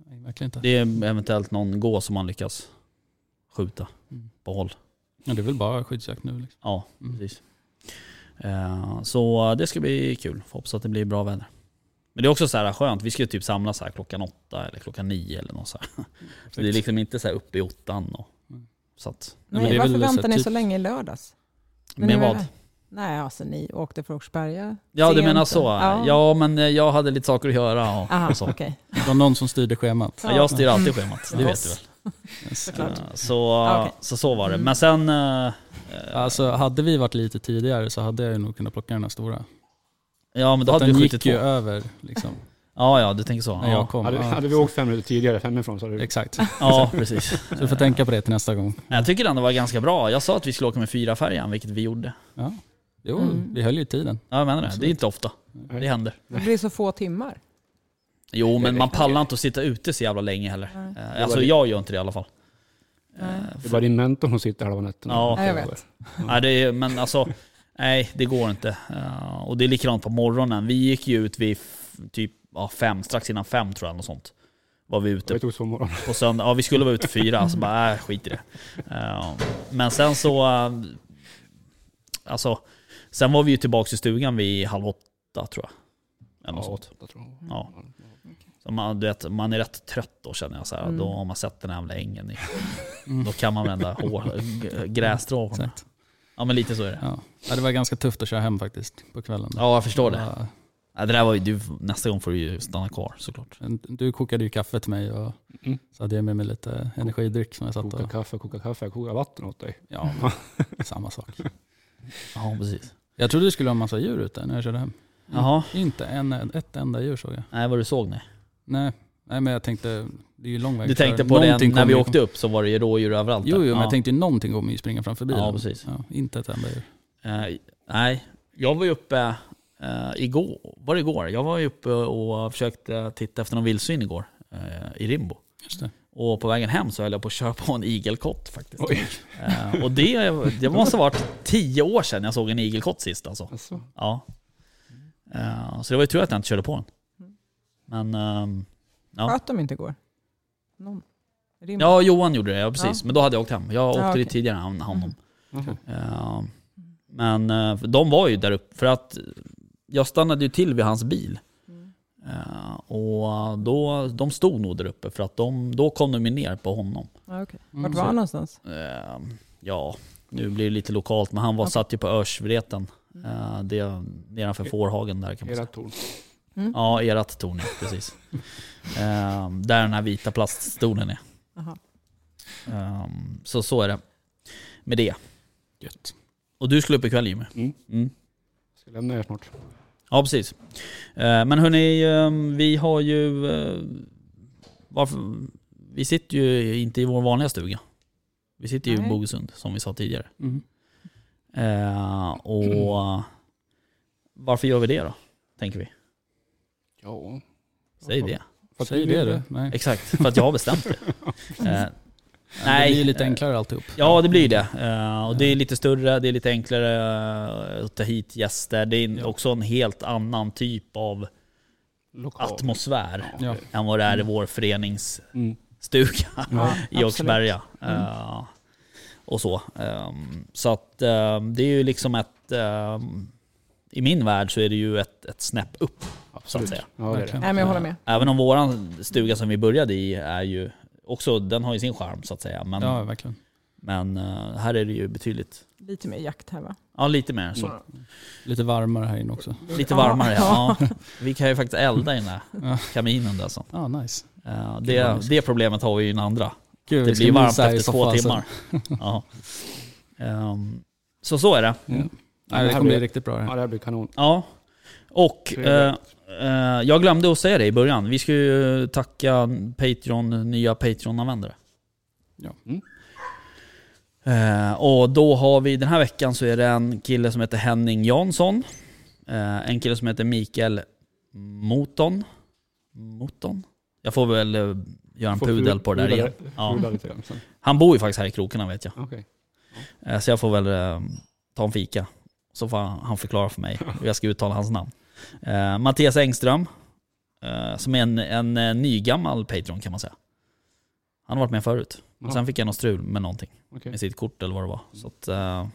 Speaker 4: nej verkligen inte.
Speaker 1: Det är eventuellt någon gås som man lyckas skjuta
Speaker 4: Mm.
Speaker 1: på håll.
Speaker 4: Ja, det är väl bara skyddsjakt nu. Liksom.
Speaker 1: Ja,
Speaker 4: Mm.
Speaker 1: precis. Eh, Så det ska bli kul. Får Hoppas att det blir bra väder. Men det är också så här skönt. Vi ska ju typ samlas så här klockan åtta eller klockan nio eller något så här. Så det är liksom inte så här uppe i åttan. Och,
Speaker 4: Mm.
Speaker 1: så att,
Speaker 4: men
Speaker 2: Nej,
Speaker 4: det är
Speaker 2: varför
Speaker 4: väl så här
Speaker 2: väntar ni
Speaker 4: typ-
Speaker 2: så länge i lördags? Men
Speaker 1: med
Speaker 2: ni var-
Speaker 1: vad?
Speaker 2: Nej, alltså ni åkte från Åkersberga.
Speaker 1: Ja du
Speaker 2: sent.
Speaker 1: menar så. Ja.
Speaker 2: Ja.
Speaker 1: men eh, jag hade lite saker att göra och,
Speaker 2: Aha,
Speaker 1: och så.
Speaker 2: okej.
Speaker 4: Det var någon som styrde schemat.
Speaker 1: Ja, jag styr alltid
Speaker 2: Mm.
Speaker 1: schemat, det
Speaker 2: Ja.
Speaker 1: vet du väl.
Speaker 4: Yes.
Speaker 2: Såklart.
Speaker 1: Eh, Så,
Speaker 2: Ja, okej.
Speaker 1: så så var det.
Speaker 2: Mm.
Speaker 1: Men sen... eh,
Speaker 4: Alltså hade vi varit lite tidigare så hade jag ju nog kunnat plocka den här stora.
Speaker 1: Ja men då hade
Speaker 4: Den
Speaker 1: du
Speaker 4: gick
Speaker 1: skjutit
Speaker 4: ju
Speaker 1: två.
Speaker 4: över liksom,
Speaker 1: Ja ja, du tänker så.
Speaker 4: när jag
Speaker 1: Ja,
Speaker 4: kom.
Speaker 3: Hade,
Speaker 4: Ja,
Speaker 3: hade vi åkt fem minuter tidigare hemifrån så hade det...
Speaker 4: Exakt.
Speaker 1: ja precis.
Speaker 4: Så du får tänka på det till nästa gång.
Speaker 1: Jag tycker den var ganska bra. Jag sa att vi skulle åka med fyra färjan, vilket vi gjorde.
Speaker 4: Ja. Jo,
Speaker 2: Mm.
Speaker 4: vi höll ju tiden.
Speaker 1: Ja, jag menar det. Det är inte ofta.
Speaker 3: Nej.
Speaker 1: Det händer.
Speaker 2: Det blir så få timmar.
Speaker 1: Jo, men man pallar inte att sitta ute så jävla länge heller.
Speaker 2: Nej.
Speaker 1: Eh, Alltså jag gör inte det i alla fall.
Speaker 2: Nej.
Speaker 1: Eh,
Speaker 3: Det
Speaker 1: för-
Speaker 3: var din mentor som sitter halva nätterna.
Speaker 1: Ja.
Speaker 2: Ja, jag vet.
Speaker 1: Nej, det är, men alltså, nej det går inte. Eh, och det är likadant på morgonen. Vi gick ju ut vid f- typ ja, fem, strax innan fem tror jag, något sånt. Var vi ute
Speaker 3: Vi tog två morgon.
Speaker 1: på söndag. Ja, vi skulle vara ute fyra, så bara äh, skit i det. Eh, men sen så... eh, alltså, sen var vi ju tillbaka i stugan vid halv åtta tror jag. Eller något sånt.
Speaker 3: åtta tror jag.
Speaker 1: Ja. Så man, du vet, man är rätt trött då känner jag. Så här.
Speaker 2: Mm.
Speaker 1: Då har man sett den här jävla ängen. i-
Speaker 4: Mm.
Speaker 1: Då kan man vända hår- g- grässtrå på den.
Speaker 4: Exakt.
Speaker 1: Ja men lite så är det.
Speaker 4: Ja. Ja, det var ganska tufft att köra hem faktiskt på kvällen.
Speaker 1: Ja jag förstår det.
Speaker 4: Ja,
Speaker 1: Ja, det där var ju, du, nästa gång får du ju stanna kvar såklart.
Speaker 4: men Du kokade ju kaffe till mig och
Speaker 3: Mm.
Speaker 4: så hade jag med mig lite energidryck som jag satt
Speaker 3: Koka
Speaker 4: och...
Speaker 3: kaffe, koka kaffe, koka vatten åt dig.
Speaker 4: Ja, men samma sak.
Speaker 1: Ja precis.
Speaker 4: Jag trodde det skulle ha en massa djur ute när jag körde hem.
Speaker 1: Jaha,
Speaker 4: Inte en, ett enda djur såg jag.
Speaker 1: nej vad du såg nej.
Speaker 4: Nej, nej men jag tänkte, det är ju lång väg
Speaker 1: Du
Speaker 4: att köra.
Speaker 1: tänkte på det
Speaker 4: Någonting
Speaker 1: när vi
Speaker 4: kommer ju-
Speaker 1: åkte upp så var det ju rådjur överallt.
Speaker 4: Jo, jo
Speaker 1: där.
Speaker 4: men
Speaker 1: ja.
Speaker 4: jag tänkte ju någonting kommer ju springa framför bilen.
Speaker 1: Ja, precis.
Speaker 4: Ja, inte ett enda djur.
Speaker 1: Eh, nej, jag var ju uppe eh, igår, var det igår? Jag var ju uppe och försökte titta efter någon vildsvin igår eh, i Rimbo.
Speaker 4: Just det.
Speaker 1: Och på vägen hem så höll jag på att köra på en igelkott faktiskt.
Speaker 3: Oj.
Speaker 1: Eh, och det, det måste ha varit tio år sedan jag såg en igelkott sist alltså.
Speaker 3: Alltså.
Speaker 1: Ja. Eh, så det var ju tur att jag inte körde på den. Men... ehm, Ja.
Speaker 2: Sköt de inte igår? Någon. Rim-
Speaker 1: Ja, Johan gjorde det, ja, precis. Men då hade jag åkt hem. Jag åkte
Speaker 2: okej.
Speaker 1: dit tidigare än honom.
Speaker 3: Jaha.
Speaker 1: Eh, men eh, de var ju där uppe, för att jag stannade ju till vid hans bil.
Speaker 2: Mm.
Speaker 1: Eh, och då, de stod nog där uppe, för att de, då kom de ju ner på honom.
Speaker 2: Ja, okej.
Speaker 4: Mm,
Speaker 2: Vart var
Speaker 4: så-
Speaker 2: han någonstans?
Speaker 1: Eh, ja, nu blir det lite lokalt, men han var,
Speaker 2: Okej.
Speaker 1: satt ju på Örsvreten. Eh, det, nedanför Fårhagen där kan man säga.
Speaker 3: Era torn.
Speaker 1: Ja, erat torn, ja, precis. Eh, där den här vita plaststolen är.
Speaker 2: Aha.
Speaker 1: Ehm, så så är det med det.
Speaker 4: Gött.
Speaker 1: Och du skulle upp ikväll Jimmy?
Speaker 3: Mm.
Speaker 1: Mm.
Speaker 3: Ska lämna er snart.
Speaker 1: Ja, precis. Eh, men hörni, ehm, vi har ju... eh, varför, vi sitter ju inte i vår vanliga stuga. Vi sitter ju i
Speaker 2: Nej.
Speaker 1: Bogesund, som vi sa tidigare.
Speaker 4: Mm.
Speaker 1: Eh, och varför gör vi det då? Tänker vi.
Speaker 3: Ja.
Speaker 1: Säg det.
Speaker 3: För att
Speaker 4: Säg
Speaker 3: vi
Speaker 4: det
Speaker 3: vill
Speaker 4: du. Nej.
Speaker 1: Exakt, för att jag har bestämt det. Eh,
Speaker 4: Nej. Det blir ju lite
Speaker 1: eh,
Speaker 4: enklare alltihop.
Speaker 1: Ja, det blir ju det. Eh, Och det är lite större, det är lite enklare eh, att ta hit gäster. Det är en-
Speaker 4: Ja.
Speaker 1: också en helt annan typ av
Speaker 3: Lokal.
Speaker 1: atmosfär
Speaker 4: Ja.
Speaker 3: det-
Speaker 1: än vad det
Speaker 4: Mm.
Speaker 1: är i vår föreningsstuga
Speaker 3: Mm.
Speaker 2: Ja,
Speaker 1: i
Speaker 2: absolut.
Speaker 1: Åkersberga.
Speaker 4: Mm.
Speaker 1: Eh, Och så. Ehm, Så att eh, det är ju liksom ett... ehm, I min värld så är det ju ett, ett snäpp upp, så att
Speaker 3: Absolut.
Speaker 1: säga.
Speaker 3: Ja, det är det.
Speaker 4: Verkligen.
Speaker 2: Nej, men jag håller med.
Speaker 1: Även om våran stuga som vi började i är ju också, den har ju sin charm så att säga. Men,
Speaker 4: Ja, verkligen.
Speaker 1: men eh, här är det ju betydligt,
Speaker 2: Lite mer jakt här va?
Speaker 1: ja lite mer så.
Speaker 3: Mm.
Speaker 4: Lite varmare här inne också.
Speaker 1: Lite
Speaker 2: Ja.
Speaker 1: varmare ja. Vi kan ju faktiskt elda i den där
Speaker 4: Ja.
Speaker 1: kaminen där så.
Speaker 4: Ah, nice.
Speaker 1: Eh,
Speaker 4: Gud, vad
Speaker 1: Det,
Speaker 4: mysigt.
Speaker 1: det problemet har vi ju i den andra.
Speaker 4: Gud, vi
Speaker 1: Det
Speaker 4: ska
Speaker 1: blir varmt
Speaker 4: mysa här i
Speaker 1: efter två
Speaker 4: soffan sen.
Speaker 1: timmar. Ja. Ehm, Så så är det.
Speaker 4: Nej, det
Speaker 3: här
Speaker 4: kommer bli
Speaker 3: blir-
Speaker 4: riktigt bra det
Speaker 3: Ja,
Speaker 4: här.
Speaker 3: det här blir kanon.
Speaker 1: Ja. Och
Speaker 3: Trevligt.
Speaker 1: eh, eh, jag glömde att säga det i början. Vi ska ju tacka Patreon, nya Patreon-användare.
Speaker 4: Ja.
Speaker 3: Mm.
Speaker 1: Eh, och då har vi, den här veckan så är det en kille som heter Henning Jansson. Eh, en kille som heter Mikael Moton. Moton? Jag får väl eh, göra en
Speaker 3: Får
Speaker 1: pudel
Speaker 3: pu-
Speaker 1: på det där
Speaker 3: pudla-
Speaker 1: igen. Ja.
Speaker 3: pudla lite grann sen.
Speaker 1: Han bor ju faktiskt här i krokarna vet jag.
Speaker 3: Okej.
Speaker 1: Eh, Så jag får väl eh, ta en fika. Så får han han förklara för mig hur jag ska uttala hans namn. Eh, Mattias Engström, eh, som är en, en eh, nygammal Patreon kan man säga. Han har varit med förut.
Speaker 3: Ja.
Speaker 1: Sen fick han något strul med någonting,
Speaker 3: Okej.
Speaker 1: med sitt kort eller vad det var. Så att, eh,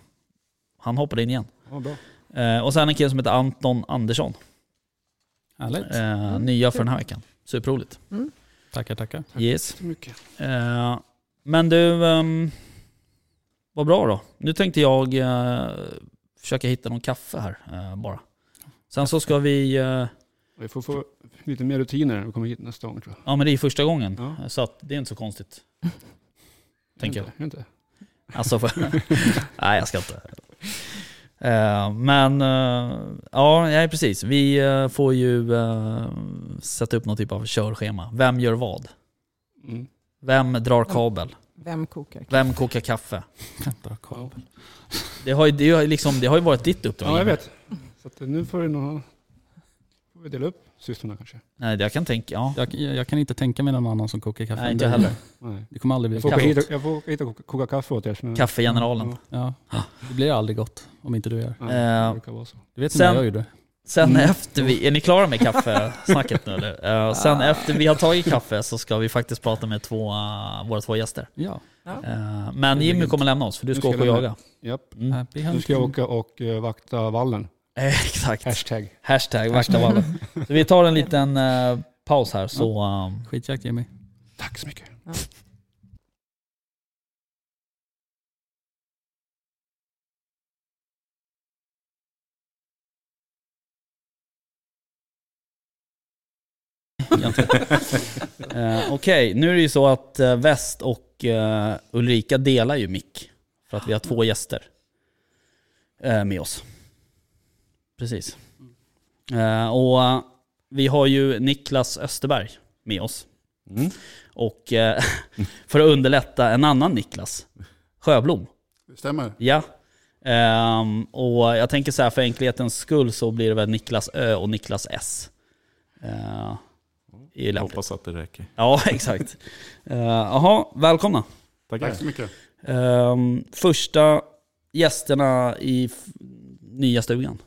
Speaker 1: han hoppade in igen.
Speaker 3: Ja, bra.
Speaker 1: Eh, och sen en kille som heter Anton Andersson.
Speaker 4: Härligt.
Speaker 1: Eh,
Speaker 2: Mm,
Speaker 1: nya för
Speaker 2: kul.
Speaker 1: den här veckan. Superroligt.
Speaker 4: Tackar, tackar.
Speaker 1: Yes.
Speaker 3: Så mycket.
Speaker 1: Eh, men du, ehm, vad bra då. Nu tänkte jag eh, försöka hitta någon kaffe här eh, bara. Sen så ska vi, eh,
Speaker 3: Vi får få lite mer rutiner när vi kommer hit nästa gång tror jag.
Speaker 1: ja men det är första gången,
Speaker 3: Ja.
Speaker 1: så att det är inte så konstigt. Tänker
Speaker 3: Är det inte? Är det inte?
Speaker 1: Alltså, för, nej jag ska inte. Eh, men eh, ja, nej, precis. Vi eh, får ju eh, sätta upp någon typ av körschema. Vem gör vad?
Speaker 3: Mm.
Speaker 1: Vem drar kabel?
Speaker 2: Vem kokar?
Speaker 1: Vem kokar kaffe?
Speaker 4: Bra kabel.
Speaker 1: Det har ju, det har ju, liksom, det har ju varit ditt uppdrag.
Speaker 3: Ja, jag vet. Så att nu får, det nog, får vi dela upp sysslorna kanske.
Speaker 1: Nej, jag kan tänka, ja.
Speaker 4: Jag, jag kan inte tänka mig någon annan som kokar kaffe.
Speaker 1: Nej,
Speaker 4: än
Speaker 1: inte
Speaker 4: dig.
Speaker 1: jag heller.
Speaker 3: Nej.
Speaker 4: Det kommer aldrig bli
Speaker 3: Jag får åka
Speaker 1: Kaffet.
Speaker 3: hit och, jag får åka hit och koka, koka kaffe åt er. så nu-
Speaker 1: Kaffegeneralen.
Speaker 4: Ja, det blir aldrig gott om inte du gör.
Speaker 3: Ja, det
Speaker 1: Eh,
Speaker 3: brukar vara så.
Speaker 4: Du vet
Speaker 1: Sen-
Speaker 4: hur jag gjorde.
Speaker 1: Sen efter vi, är ni klara med kaffesnacket nu eller? Eh, sen efter vi har tagit kaffe så ska vi faktiskt prata med två, eh, våra två gäster.
Speaker 4: Ja.
Speaker 1: Eh, men Jimmy kommer lämna oss för du
Speaker 3: Nu
Speaker 1: ska,
Speaker 3: ska
Speaker 1: åka och
Speaker 3: jag
Speaker 1: jaga.
Speaker 3: lämna. Japp.
Speaker 1: Mm.
Speaker 4: Happy
Speaker 3: Nu ska jag
Speaker 4: hunting.
Speaker 3: åka och eh, vakta vallen.
Speaker 1: Eh, Exakt.
Speaker 3: Hashtag.
Speaker 1: Hashtag värsta vallen. Så vi tar en liten eh, paus här så... ehm,
Speaker 4: Skitjakt Jimmy.
Speaker 3: Tack så mycket.
Speaker 1: Eh, Okej, nu är det ju så att eh, Väst och eh, Ulrika delar ju mick. För att vi har två gäster eh, med oss. Precis. Eh, och eh, vi har ju Niklas Österberg med oss.
Speaker 5: Mm.
Speaker 1: Och eh, för att underlätta en annan Niklas, Sjöblom.
Speaker 5: Stämmer.
Speaker 1: Ja. Ehm, och jag tänker så här för enkelhetens skull så blir det väl Niklas Ö och Niklas S. Uh, är ju
Speaker 6: Jag
Speaker 1: lämpligt.
Speaker 6: hoppas att det räcker.
Speaker 1: Ja, exakt. Eh, Jaha, välkomna.
Speaker 5: Tack så mycket.
Speaker 1: Ehm, första gästerna i f- nya stugan.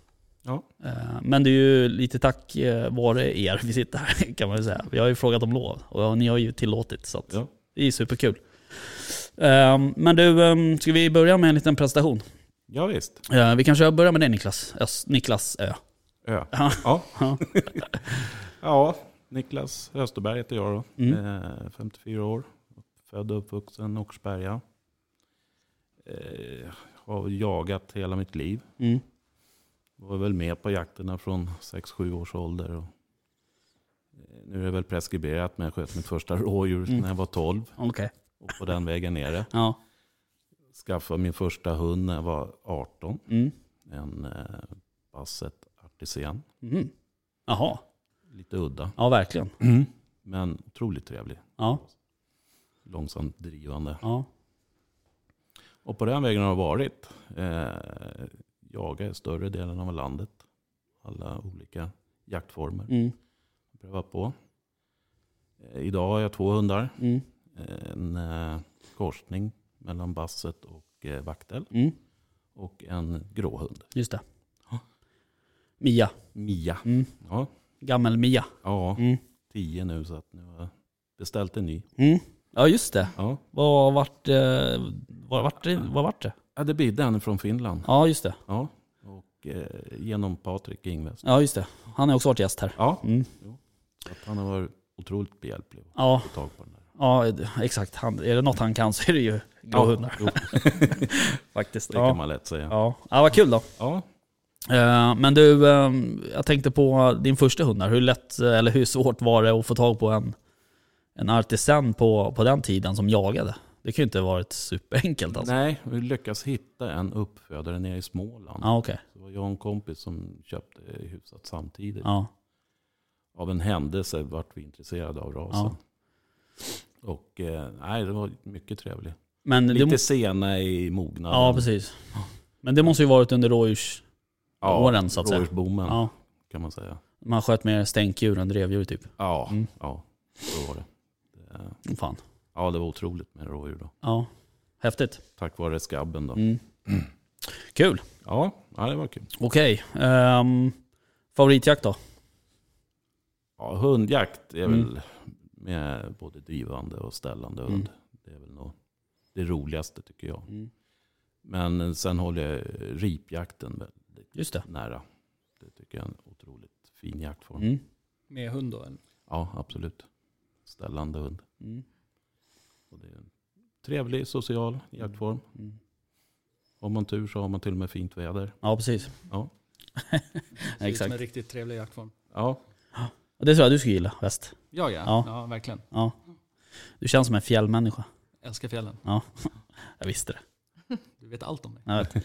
Speaker 3: Ja.
Speaker 1: Eh, men det är ju lite tack eh, vare er vi sitter här kan man ju säga. Vi har ju frågat om lov och ni har ju tillåtit så att
Speaker 6: Ja.
Speaker 1: det är superkul. Ehm, men du, ehm, ska vi börja med en liten presentation?
Speaker 6: Ja, visst.
Speaker 1: Eh, vi kanske börjar med dig Niklas. Ös, Niklas Ö.
Speaker 6: Ö.
Speaker 1: Ja.
Speaker 6: Ja.
Speaker 1: Ja.
Speaker 6: ja, Niklas Österberg heter jag då.
Speaker 1: Mm.
Speaker 6: Eh, 54 år. Född och uppvuxen i Åkersberga. Eh, har jagat hela mitt liv.
Speaker 1: Mm.
Speaker 6: Var väl med på jakterna från 6-7 års ålder. Och eh, nu är det väl preskriberat, men jag sköt mitt första rådjur
Speaker 1: Mm.
Speaker 6: när jag var 12.
Speaker 1: Okej.
Speaker 6: Och på den vägen är det.
Speaker 1: Ja.
Speaker 6: Skaffade min första hund när jag var 18.
Speaker 1: Mm.
Speaker 6: En eh, Basset Artisan.
Speaker 1: Mm. Jaha.
Speaker 6: Lite udda.
Speaker 1: Ja, verkligen.
Speaker 6: Men otroligt trevlig.
Speaker 1: Ja.
Speaker 6: Långsamt drivande.
Speaker 1: Ja.
Speaker 6: Och på den vägen har jag varit. Eh, jagar större delen av landet. Alla olika jaktformer.
Speaker 1: Mm.
Speaker 6: Prövat på. Eh, idag har jag två hundar.
Speaker 1: Mm.
Speaker 6: Eh, En eh, korsning mellan basset och eh, vaktel.
Speaker 1: Mm.
Speaker 6: Och en grå hund.
Speaker 1: Just det. Mia.
Speaker 6: Mia.
Speaker 1: Mm.
Speaker 6: Ja,
Speaker 1: Gammel Mia.
Speaker 6: ja
Speaker 1: Mm.
Speaker 6: tio nu så att nu har jag beställt en ny.
Speaker 1: Mm. Ja, just det.
Speaker 6: Ja.
Speaker 1: Vad vart, eh, vad, vart, det- vad vart det?
Speaker 6: Ja, det bidde en från Finland.
Speaker 1: Ja, just det.
Speaker 6: Ja. Och eh, genom Patrik Ingves.
Speaker 1: Ja, just det. Han har också varit gäst här.
Speaker 6: Ja,
Speaker 1: Mm.
Speaker 6: att han har varit otroligt behjälplig att
Speaker 1: Ja,
Speaker 6: få tag på den där.
Speaker 1: ja, exakt. Han, är det något han kan så är det ju grå hundar.
Speaker 6: jo,
Speaker 1: Faktiskt.
Speaker 6: det kan
Speaker 1: Ja.
Speaker 6: man lätt säga.
Speaker 1: Ja. ja, vad kul då.
Speaker 6: Ja,
Speaker 1: Eh, Men du, eh, jag tänkte på din första hund där. Hur lätt eh, eller hur svårt var det att få tag på en, en artisan på, på den tiden som jagade? Det kan ju inte ha varit superenkelt alltså.
Speaker 6: nej, vi lyckas hitta en uppfödare nere i Småland.
Speaker 1: Ja, okej.
Speaker 6: Det var jag och en kompis som köpte huset samtidigt.
Speaker 1: Ja.
Speaker 6: Av en händelse vart vi intresserade av rasen. Och eh, nej, det var mycket trevligt.
Speaker 1: Men det,
Speaker 6: Lite
Speaker 1: må-
Speaker 6: sena i mognaden.
Speaker 1: ja, precis. Men det måste ju varit under rådjurs... åren, så att säga.
Speaker 6: rådjursboomen
Speaker 1: Ja. Mm.
Speaker 6: kan man säga.
Speaker 1: Man sköt mer stänkdjur än drevdjur typ.
Speaker 6: Ja,
Speaker 1: Mm.
Speaker 6: ja, så var det. det.
Speaker 1: Fan.
Speaker 6: Ja, det var otroligt med rådjur då.
Speaker 1: Ja. Häftigt.
Speaker 6: Tack vare skabben då.
Speaker 1: Mm. Kul.
Speaker 6: Ja, ja, det var kul.
Speaker 1: Okej. ehm, Favoritjakt då?
Speaker 6: Ja, hundjakt är
Speaker 1: Mm.
Speaker 6: väl med både drivande och ställande
Speaker 1: Mm.
Speaker 6: hund. Det är väl nog det roligaste tycker jag. Men eh, sen håller jag ripjakten väldigt
Speaker 1: Just det.
Speaker 6: nära. Det tycker jag är en otroligt fin jaktform.
Speaker 1: Mm.
Speaker 4: Med hund då? Eller?
Speaker 6: Ja, absolut. Ställande hund.
Speaker 1: Mm.
Speaker 6: Och det är en trevlig social jaktform.
Speaker 1: Mm.
Speaker 6: Har man tur så har man till och med fint väder.
Speaker 1: Ja, precis.
Speaker 6: Ja.
Speaker 4: Ser ut som
Speaker 1: Exakt.
Speaker 4: en riktigt trevlig jaktform.
Speaker 6: Ja,
Speaker 1: Och Det tror jag du skulle gilla bäst.
Speaker 4: Ja, ja.
Speaker 1: Ja.
Speaker 4: ja. verkligen.
Speaker 1: Ja. Du känns som en fjällmänniska.
Speaker 4: Älskar fjällen.
Speaker 1: Jag visste det.
Speaker 4: Du vet allt om det.
Speaker 1: Jag vet.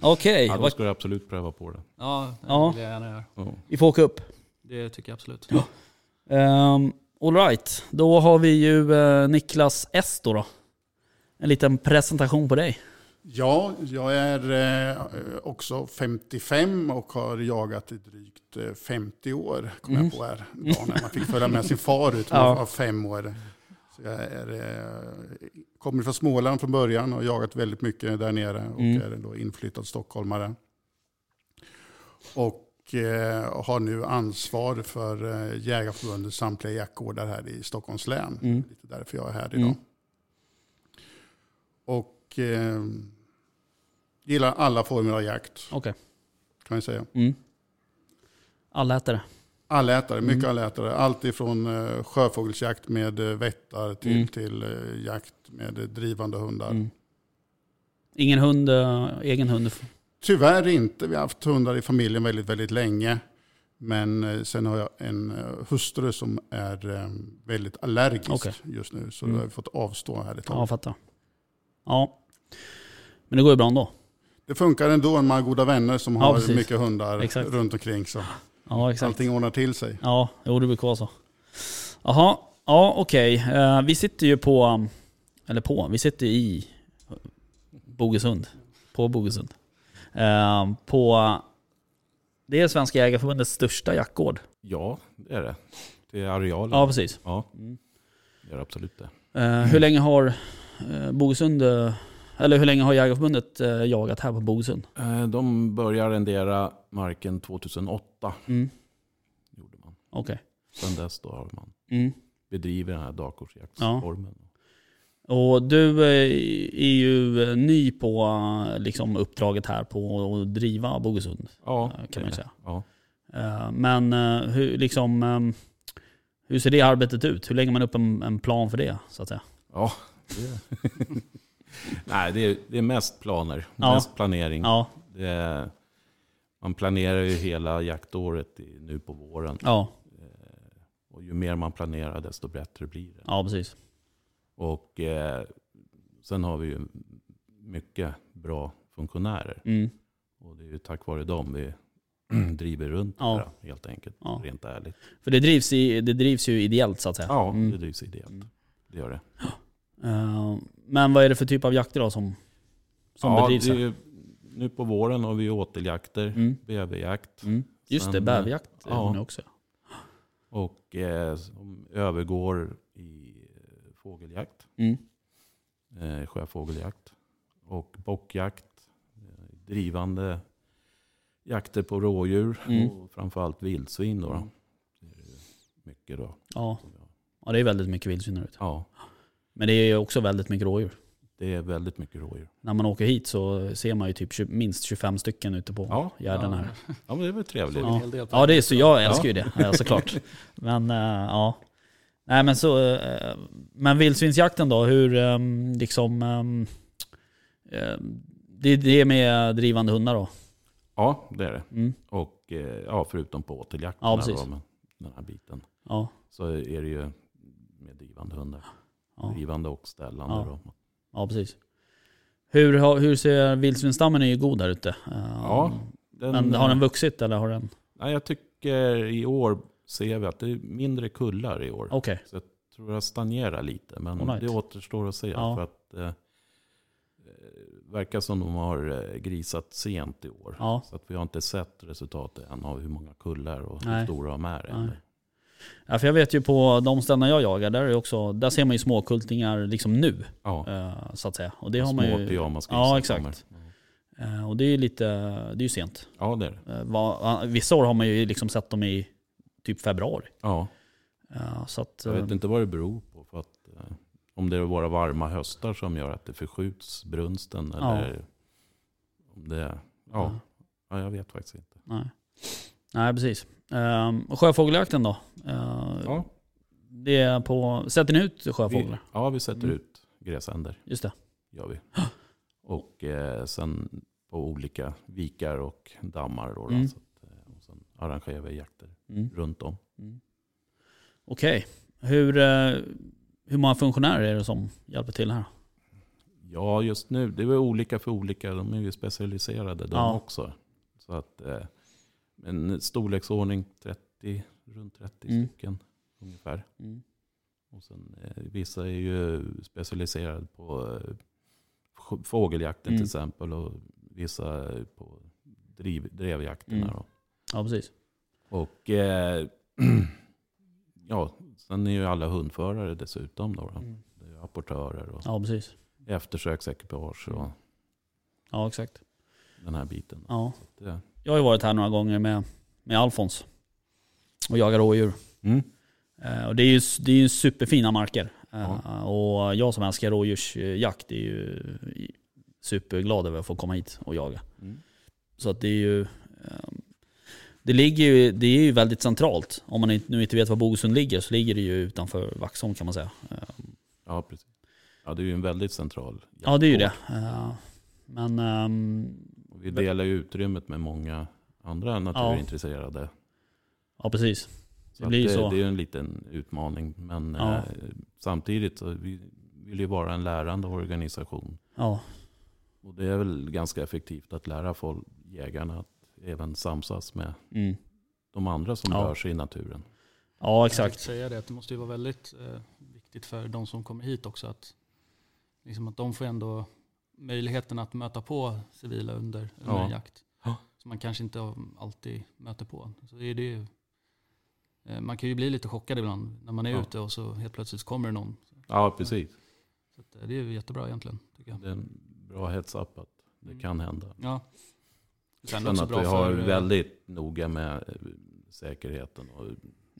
Speaker 1: Okej,
Speaker 6: ja då
Speaker 1: vad-
Speaker 6: ska du absolut pröva på det.
Speaker 4: Ja, det
Speaker 1: Ja.
Speaker 4: vill jag gärna göra.
Speaker 6: Ja.
Speaker 1: vi får åka upp.
Speaker 4: Det tycker jag absolut.
Speaker 1: Um, Alright, då har vi ju eh, Niklas S då, då. En liten presentation på dig.
Speaker 5: Ja, jag är eh, också 55 och har jagat i drygt eh, 50 år. Kom
Speaker 1: Mm.
Speaker 5: jag på här en dag när man fick följa med sin far ut. Man
Speaker 1: Ja.
Speaker 5: var fem år. Så jag är, eh, kommer från Småland från början och har jagat väldigt mycket där nere. Och
Speaker 1: Mm.
Speaker 5: är då inflyttad stockholmare. Och eh, har nu ansvar för eh, Jägarförbundets samtliga jaktgårdar här i Stockholms län.
Speaker 1: Mm.
Speaker 5: Lite därför jag är här idag.
Speaker 1: Mm.
Speaker 5: Och eh, gillar alla former av jakt
Speaker 1: Okej.
Speaker 5: kan jag säga.
Speaker 1: Mm. Allätare.
Speaker 5: Allätare, mycket
Speaker 1: Mm.
Speaker 5: allätare. Allt ifrån eh, sjöfågelsjakt med eh, vättar till,
Speaker 1: Mm.
Speaker 5: till eh, jakt med eh, drivande hundar.
Speaker 1: Mm. Ingen hund, eh, egen hund.
Speaker 5: Tyvärr inte. Vi har haft hundar i familjen väldigt, väldigt länge. Men eh, sen har jag en eh, hustru som är eh, väldigt allergisk
Speaker 1: Okej.
Speaker 5: just nu. Så
Speaker 1: Mm.
Speaker 5: då har vi fått avstå här ett tag.
Speaker 1: Ja, fattar. Ja. Men det går ju bra ändå.
Speaker 5: Det funkar ändå, man har goda vänner som
Speaker 1: Ja,
Speaker 5: har
Speaker 1: precis.
Speaker 5: mycket hundar
Speaker 1: Exakt.
Speaker 5: runt omkring. Så
Speaker 1: Ja, exakt.
Speaker 5: allting ordnar till sig.
Speaker 1: Ja, jo det brukar vara så. Jaha, ja okej. Eh, vi sitter ju på, um, eller på, vi sitter i Bogesund. På Bogesund. Eh, på, det är Svenska Jägareförbundets största jaktgård.
Speaker 6: Ja, det är det. Det är arealen.
Speaker 1: Ja,
Speaker 6: Ja,
Speaker 1: precis. Mm.
Speaker 6: det är absolut det.
Speaker 1: Eh,
Speaker 6: Mm.
Speaker 1: hur länge har eh, Bogesund, eh, eller hur länge har Jägareförbundet eh, jagat här på Bogesund?
Speaker 6: Eh, De började rendera marken 2008.
Speaker 1: Mm.
Speaker 6: Gjorde man.
Speaker 1: Okej.
Speaker 6: Sen dess då har man
Speaker 1: Mm.
Speaker 6: bedrivit den här dagkortsjaktsformen.
Speaker 1: Och du eh, är ju eh, ny på eh, liksom, uppdraget här på att driva Bogesund.
Speaker 6: Ja,
Speaker 1: kan
Speaker 6: det
Speaker 1: man
Speaker 6: är det.
Speaker 1: säga.
Speaker 6: Ja.
Speaker 1: Eh, Men eh, hur, liksom, eh, hur ser det arbetet ut? Hur lägger man upp en, en plan för det? Så att säga?
Speaker 6: ja det. Nej, det är, det är mest planer.
Speaker 1: Ja.
Speaker 6: Mest planering.
Speaker 1: Ja,
Speaker 6: Det är, man planerar ju hela jaktåret i, nu på våren.
Speaker 1: ja,
Speaker 6: Eh, Och ju mer man planerar desto bättre blir det.
Speaker 1: ja precis.
Speaker 6: Och eh, sen har vi ju mycket bra funktionärer.
Speaker 1: Mm,
Speaker 6: Och det är ju tack vare dem vi driver runt
Speaker 1: Ja.
Speaker 6: det här, helt enkelt.
Speaker 1: ja.
Speaker 6: Rent ärligt.
Speaker 1: För det drivs, i, det drivs ju ideellt så att säga.
Speaker 6: Ja,
Speaker 1: Mm.
Speaker 6: det drivs ideellt.
Speaker 1: Mm.
Speaker 6: Det gör det.
Speaker 1: Eh, Men vad är det för typ av jakter då som, som
Speaker 6: ja,
Speaker 1: bedrivs
Speaker 6: det är
Speaker 1: här?
Speaker 6: ju, nu på våren har vi ju åteljakter,
Speaker 1: Mm,
Speaker 6: bäverjakt
Speaker 1: mm. Just
Speaker 6: Sen,
Speaker 1: det,
Speaker 6: eh,
Speaker 1: bäverjakt är
Speaker 6: ja.
Speaker 1: det nu också.
Speaker 6: och eh, som övergår i eh, fågeljakt,
Speaker 1: Mm.
Speaker 6: eh, sjöfågeljakt och bockjakt, eh, drivande jakter på rådjur
Speaker 1: Mm.
Speaker 6: och framförallt vildsvin. Då, då.
Speaker 1: Mm.
Speaker 6: Det är ju mycket då.
Speaker 1: Ja. ja, det är väldigt mycket vildsvin här ute.
Speaker 6: Ja,
Speaker 1: Men det är ju också väldigt mycket rådjur.
Speaker 6: det är väldigt mycket rådjur.
Speaker 1: När man åker hit så ser man ju typ tjugo- minst 25 stycken ute på
Speaker 6: Ja,
Speaker 1: gärden här.
Speaker 6: Ja, men det är väl trevligt.
Speaker 4: Ja. En hel del på
Speaker 1: Ja, det är så. Jag
Speaker 6: Ja.
Speaker 1: älskar ju det eh, såklart. Men eh, ja. Nej, men så, eh, men vildsvinsjakten då, hur eh, liksom... eh, eh, Det är det med drivande hundar då?
Speaker 6: Ja, det är det.
Speaker 1: Mm.
Speaker 6: Och eh, ja, förutom på åteljakten.
Speaker 1: Ja,
Speaker 6: där
Speaker 1: precis.
Speaker 6: då, men Den här biten.
Speaker 1: Ja.
Speaker 6: Så är det ju med drivande hundar.
Speaker 1: Ja,
Speaker 6: Drivande och ställande.
Speaker 1: Ja.
Speaker 6: Då.
Speaker 1: ja precis. Hur, har- hur ser vildsvinsstammen är ju god där ute. Eh,
Speaker 6: Ja, den, eh,
Speaker 1: Men har den vuxit eller har den...
Speaker 6: nej, jag tycker i år ser vi att det är mindre kullar i år. Jag
Speaker 1: Okej.
Speaker 6: tror jag stagnerar lite. Men
Speaker 1: All right.
Speaker 6: det återstår att se.
Speaker 1: Ja.
Speaker 6: För att eh, eh, verkar som de har eh, grisat sent i år.
Speaker 1: Ja.
Speaker 6: Så att vi har inte sett resultatet än av hur många kullar och
Speaker 1: Nej.
Speaker 6: hur stora de är.
Speaker 1: Nej.
Speaker 6: än.
Speaker 1: Ja, för jag vet ju på de ställen jag jagar, där, är det också, där ser man ju småkultingar liksom nu.
Speaker 6: Ja.
Speaker 1: eh, Så att säga. Och det har
Speaker 6: Små
Speaker 1: man ju...
Speaker 6: pyjamasgrisar
Speaker 1: Ja, exakt.
Speaker 6: kommer.
Speaker 1: Eh, Och det är ju lite, det är ju sent.
Speaker 6: Ja, det är det.
Speaker 1: Eh, va- Vissa år har man ju liksom sett dem i typ februari.
Speaker 6: Ja,
Speaker 1: Eh, Så att,
Speaker 6: jag vet
Speaker 1: eh,
Speaker 6: inte vad det beror på. För att, eh, om det är våra varma höstar som gör att det förskjuts brunsten. Eller om det, ja, ja, jag vet faktiskt inte.
Speaker 1: Nej, Nej precis. Um, sjöfågeljakten då? Eh,
Speaker 6: Ja.
Speaker 1: Det är på, sätter ni ut
Speaker 6: Vi,
Speaker 1: sjöfåglar?
Speaker 6: ja, vi sätter
Speaker 1: Mm.
Speaker 6: ut gräsänder.
Speaker 1: Just det.
Speaker 6: gör vi. Och eh, sen på olika vikar och dammar. Då, då,
Speaker 1: Mm.
Speaker 6: så att, eh, och sen arrangerar vi jakter
Speaker 1: Mm.
Speaker 6: runt om.
Speaker 1: Okej. Hur, eh, hur många funktionärer är det som hjälper till här?
Speaker 6: Ja, just nu. Det är väl olika för olika. De är ju specialiserade de
Speaker 1: Ja.
Speaker 6: också. Så att, eh, men storleksordning 30, runt 30
Speaker 1: Mm.
Speaker 6: stycken ungefär.
Speaker 1: Mm.
Speaker 6: Och sen, eh, vissa är ju specialiserade på eh, sj- fågeljakten
Speaker 1: Mm.
Speaker 6: till exempel. Och vissa eh, på driv, drevjakterna.
Speaker 1: Mm.
Speaker 6: Då.
Speaker 1: Ja, precis.
Speaker 6: Och eh, ja, sen är ju alla hundförare dessutom. Då, då. Det är ju apportörer
Speaker 1: Mm.
Speaker 6: och
Speaker 1: Ja, precis.
Speaker 6: eftersöksekipage och
Speaker 1: Ja, exakt.
Speaker 6: den här biten. eh,
Speaker 1: Ja.
Speaker 6: Det,
Speaker 1: Jag har ju varit här några gånger med, med Alfons och jagar rådjur.
Speaker 6: mm.
Speaker 1: Eh, Och det är ju det är ju superfina marker. Eh,
Speaker 6: Ja.
Speaker 1: Och jag som älskar rådjursjakt är ju superglad över att få komma hit och jaga.
Speaker 6: Mm.
Speaker 1: Så att det är ju... ehm, Det, ligger ju, det är ju väldigt centralt. Om man inte- nu inte vet var Bogesund ligger så ligger det ju utanför Vaxholm kan man säga. Ehm,
Speaker 6: ja, precis. Ja, det är ju en väldigt central
Speaker 1: Ja det är ju det.
Speaker 6: jaktgård.
Speaker 1: Eh, Men ehm,
Speaker 6: Och vi delar ju utrymmet med många andra naturintresserade.
Speaker 1: ja precis.
Speaker 6: Så
Speaker 1: Det
Speaker 6: att
Speaker 1: blir ju
Speaker 6: det,
Speaker 1: så.
Speaker 6: det är ju en liten utmaning. Men
Speaker 1: Ja.
Speaker 6: eh, samtidigt så vi vill ju vara en lärande organisation.
Speaker 1: Ja,
Speaker 6: Och det är väl ganska effektivt att lära folk, jägarna att även samsas med
Speaker 1: mm.
Speaker 6: de andra som
Speaker 1: Ja.
Speaker 6: rör sig i naturen.
Speaker 1: ja
Speaker 4: Jag tänkte
Speaker 1: exakt.
Speaker 4: säga det, att det måste ju vara väldigt eh, viktigt för de som kommer hit också att, liksom att de får ändå möjligheten att möta på civila under, under
Speaker 6: Ja.
Speaker 4: en jakt.
Speaker 6: Ja.
Speaker 4: Som man kanske inte alltid möter på. Så det är det ju, eh, man kan ju bli lite chockad ibland när man är
Speaker 6: Ja.
Speaker 4: ute och så helt plötsligt kommer det någon.
Speaker 6: Ja, precis.
Speaker 4: Så att, eh, det är ju jättebra egentligen tycker jag.
Speaker 6: Det är en bra heads up att det
Speaker 4: Mm.
Speaker 6: kan hända.
Speaker 4: Ja. Sen
Speaker 6: Sen
Speaker 4: också
Speaker 6: att
Speaker 4: bra
Speaker 6: vi har
Speaker 4: för, eh,
Speaker 6: väldigt noga med eh, säkerheten. Och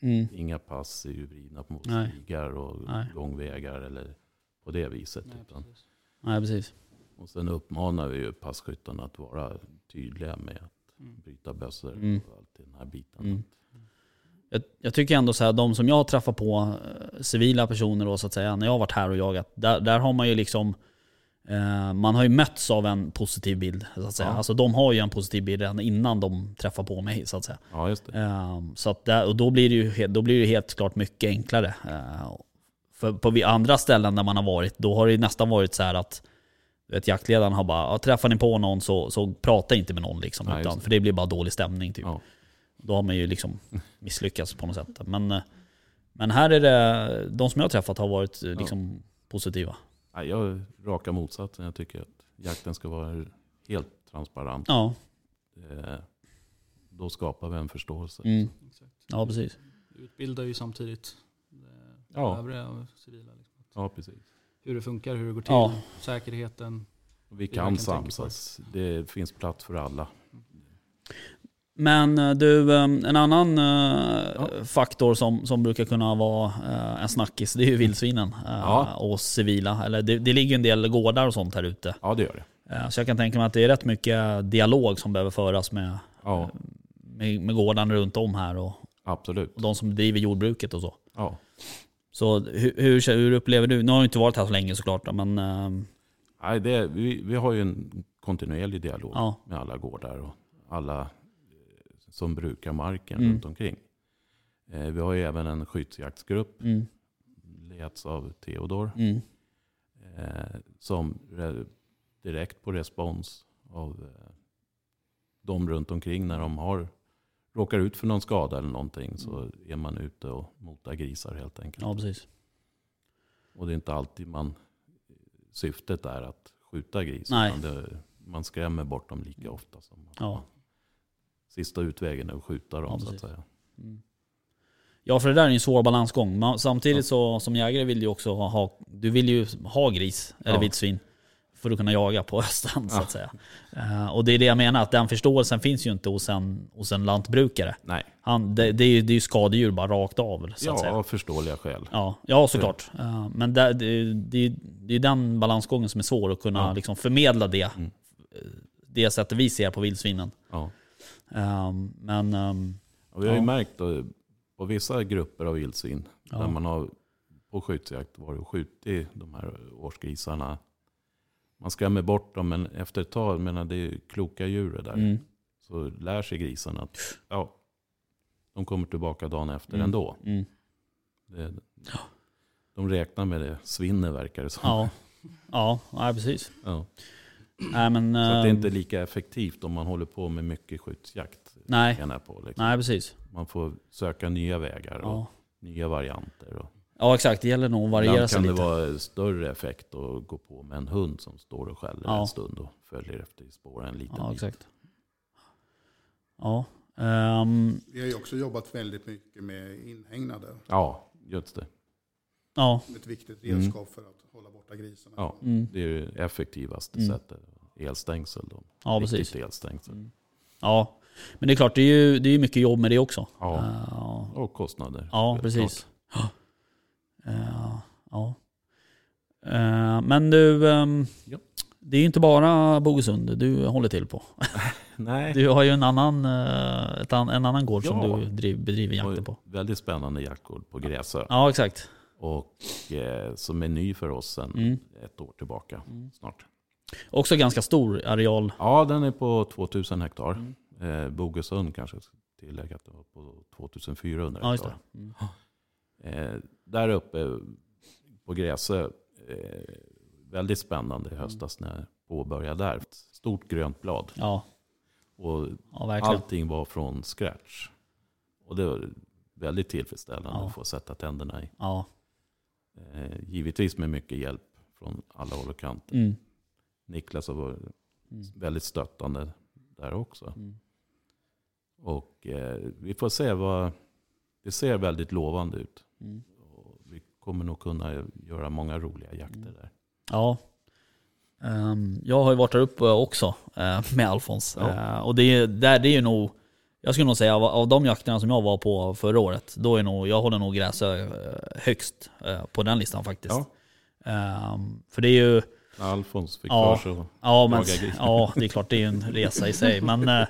Speaker 1: Mm.
Speaker 6: inga pass är ju vridna mot
Speaker 1: Nej.
Speaker 6: stigar och
Speaker 1: Nej.
Speaker 6: gångvägar eller på det viset.
Speaker 4: Nej,
Speaker 6: utan,
Speaker 4: precis.
Speaker 1: Nej precis.
Speaker 6: och sen uppmanar vi ju passkyttarna att vara tydliga med att
Speaker 4: Mm.
Speaker 6: bryta bössor
Speaker 1: Mm.
Speaker 6: och allt i den här biten.
Speaker 1: Mm. Jag, jag tycker ändå så här, de som jag har träffat på, eh, civila personer då så att säga, när jag har varit här och jagat, där, där har man ju liksom eh, man har ju mötts av en positiv bild. Så att säga.
Speaker 6: Ja.
Speaker 1: Alltså, de har ju en positiv bild redan innan de träffar på mig. Så att säga.
Speaker 6: Ja, just det.
Speaker 1: Ehm, så att där, och då blir det ju he- då blir det ju helt klart mycket enklare. Ehm, för på vi- andra ställen där man har varit, då har det ju nästan varit så här att du vet, jaktledaren har bara, "Ja, träffar ni på någon så, så prata inte med någon. Liksom,
Speaker 6: Nej, just
Speaker 1: utan,
Speaker 6: det.
Speaker 1: för det blir bara dålig stämning. Typ.
Speaker 6: Ja.
Speaker 1: Då har man ju liksom misslyckats på något sätt. Men, eh, men här är det, de som jag har träffat har varit eh, liksom, positiva.
Speaker 6: Nej, jag är raka motsatsen. Jag tycker att jakten ska vara helt transparent.
Speaker 1: Ja,
Speaker 6: Eh, Då skapar vi en förståelse.
Speaker 1: mm,
Speaker 4: Exakt.
Speaker 1: ja precis.
Speaker 4: Utbildar ju samtidigt eh,
Speaker 6: Ja.
Speaker 4: övriga civila. Liksom.
Speaker 6: Ja, precis.
Speaker 4: Hur det funkar, hur det går till,
Speaker 1: Ja.
Speaker 4: säkerheten.
Speaker 6: Och Vi
Speaker 4: Det man kan
Speaker 6: kan
Speaker 4: tänka
Speaker 6: samsas. Det finns plats för alla.
Speaker 1: Men eh, du, eh, en annan eh,
Speaker 6: Ja.
Speaker 1: faktor som, som brukar kunna vara eh, en snackis, det är ju vildsvinen eh,
Speaker 6: Mm. Ja.
Speaker 1: och civila. Eller det, det ligger ju en del gårdar och sånt här ute.
Speaker 6: Ja, det gör det.
Speaker 1: Eh, Så jag kan tänka mig att det är rätt mycket dialog som behöver föras med,
Speaker 6: Ja,
Speaker 1: med, med gårdarna runt om här och,
Speaker 6: absolut.
Speaker 1: och de som driver jordbruket och så.
Speaker 6: Ja.
Speaker 1: Så hur, hur, hur upplever du, nu har du inte varit här så länge såklart, då, men eh,
Speaker 6: Nej, det, vi, vi har ju en kontinuerlig dialog
Speaker 1: ja,
Speaker 6: med alla gårdar och alla eh, som brukar marken
Speaker 1: Mm.
Speaker 6: runt omkring. Eh, Vi har ju även en skyddsjaktsgrupp,
Speaker 1: mm,
Speaker 6: leds av Theodor,
Speaker 1: mm,
Speaker 6: eh, som re- direkt på respons av eh, de runt omkring när de har råkar ut för någon skada eller någonting så är man ute och motar grisar helt enkelt.
Speaker 1: Mm. ja precis.
Speaker 6: Och det är inte alltid man syftet är att skjuta gris.
Speaker 1: Nej. Mm.
Speaker 6: utan Det, man skrämmer bort dem lika ofta. Som man-
Speaker 1: Ja.
Speaker 6: Sista utvägen är att skjuta dem
Speaker 1: Ja,
Speaker 6: så att
Speaker 1: precis.
Speaker 6: säga.
Speaker 1: Mm. Ja, för det där är en svår balansgång. Man, samtidigt så som jägare vill du ju också ha, du vill ju ha gris eller
Speaker 6: Ja.
Speaker 1: vildsvin för att kunna jaga på östen så att säga. Eh, Och det är det jag menar, att den förståelsen finns ju inte hos en, hos en lantbrukare.
Speaker 6: Nej,
Speaker 1: Han, det, det, är ju, det är ju skadedjur bara rakt av så att
Speaker 6: ja,
Speaker 1: säga.
Speaker 6: av förståeliga skäl.
Speaker 1: Ja, ja såklart. Eh, Men där, det, det, det är den balansgången som är svår att kunna
Speaker 6: Ja.
Speaker 1: liksom förmedla det, eh,
Speaker 6: Mm.
Speaker 1: det sättet vi ser på vildsvinen.
Speaker 6: Ja.
Speaker 1: Eh, Men ehm,
Speaker 6: Och vi har ju
Speaker 1: Ja.
Speaker 6: märkt då, på vissa grupper av vildsvin,
Speaker 1: Ja.
Speaker 6: där man har på skyddsjakt varit och skjutit de här årsgrisarna. Man skrämmer bort dem, men efter ett tag, jag menar, det är ju kloka djur det där.
Speaker 1: mm,
Speaker 6: Så lär sig grisarna att ja, de kommer tillbaka dagen efter
Speaker 1: Mm.
Speaker 6: ändå.
Speaker 1: mm,
Speaker 6: Det, de räknar med det, svinner verkar det som.
Speaker 1: ja. Ja, ja, precis.
Speaker 6: Ja.
Speaker 1: Nej, men,
Speaker 6: Så att det är
Speaker 1: ehm,
Speaker 6: inte lika effektivt om man håller på med mycket skyddsjakt.
Speaker 1: Nej.
Speaker 6: menar jag På, liksom.
Speaker 1: Nej, precis.
Speaker 6: Man får söka nya vägar och
Speaker 1: Ja.
Speaker 6: nya varianter. Och
Speaker 1: ja, exakt. Det gäller nog att variera
Speaker 6: ibland
Speaker 1: sig
Speaker 6: kan
Speaker 1: lite.
Speaker 6: det vara större effekt att gå på med en hund som står och skäller
Speaker 1: Ja.
Speaker 6: en stund och följer efter i spåren en liten
Speaker 1: Ja,
Speaker 6: bit.
Speaker 1: exakt. Ja. ehm,
Speaker 5: Vi har ju också jobbat väldigt mycket med inhägnader.
Speaker 6: Ja, just det.
Speaker 1: ja.
Speaker 5: Ett viktigt
Speaker 6: Mm.
Speaker 5: redskap för att hålla borta grisarna.
Speaker 6: Ja.
Speaker 1: Mm.
Speaker 6: Det är ju effektivaste
Speaker 1: Mm.
Speaker 6: sättet. Elstängsel då.
Speaker 1: ja,
Speaker 6: Riktigt
Speaker 1: precis.
Speaker 6: elstängsel.
Speaker 1: Mm. Ja, men det är klart, det är ju det är ju mycket jobb med det också.
Speaker 6: Ja.
Speaker 1: Eh,
Speaker 6: Och kostnader.
Speaker 1: ja
Speaker 6: helt
Speaker 1: precis.
Speaker 6: klart.
Speaker 1: Eh, ja. Eh, men du, ehm,
Speaker 6: Ja.
Speaker 1: det är ju inte bara Bogesund du håller till på.
Speaker 6: Nej,
Speaker 1: Du har ju en annan, eh, ett an, en annan gård
Speaker 6: Ja.
Speaker 1: som du driv, bedriver
Speaker 6: det var ju
Speaker 1: jakten på.
Speaker 6: väldigt spännande jaktgård på Gräsö.
Speaker 1: Ja, exakt.
Speaker 6: Och eh, som är ny för oss sedan
Speaker 1: Mm.
Speaker 6: ett år tillbaka
Speaker 1: Mm.
Speaker 6: snart.
Speaker 1: Också ganska stor areal.
Speaker 6: Ja, den är på 2000 hektar.
Speaker 1: Mm.
Speaker 6: Eh, Bogesund kanske jag ska tillägga att det var på 2400
Speaker 1: Ja, just
Speaker 6: hektar.
Speaker 1: det. Mm.
Speaker 6: Eh, där uppe på Gräsö, eh, väldigt spännande i höstas när jag påbörjade där. Stort grönt blad
Speaker 1: Mm. Ja,
Speaker 6: och
Speaker 1: ja verkligen.
Speaker 6: allting var från scratch. Och det var väldigt tillfredsställande
Speaker 1: Ja.
Speaker 6: att få sätta tänderna i.
Speaker 1: Ja.
Speaker 6: Eh, givetvis med mycket hjälp från alla håll och kanter.
Speaker 1: Mm.
Speaker 6: Niklas har varit
Speaker 1: Mm.
Speaker 6: väldigt stöttande där också.
Speaker 1: Mm.
Speaker 6: Och eh, vi får se vad... Det ser väldigt lovande ut.
Speaker 1: Mm.
Speaker 6: Och vi kommer nog kunna göra många roliga jakter
Speaker 1: Mm.
Speaker 6: där.
Speaker 1: Ja. Ehm, jag har ju varit där uppe också eh, med Alfons.
Speaker 6: Ja.
Speaker 1: Eh, och det är, där, det är ju nog, jag skulle nog säga av, av de jakterna som jag var på förra året, då är nog, jag håller nog Gräsö eh, högst eh, på den listan faktiskt.
Speaker 6: Ja.
Speaker 1: Ehm, för det är ju,
Speaker 6: När Alfons fick
Speaker 1: Ja.
Speaker 6: för sig.
Speaker 1: ja, men,
Speaker 6: Jaga gris.
Speaker 1: ja det är klart det är ju en resa i sig. Men eh,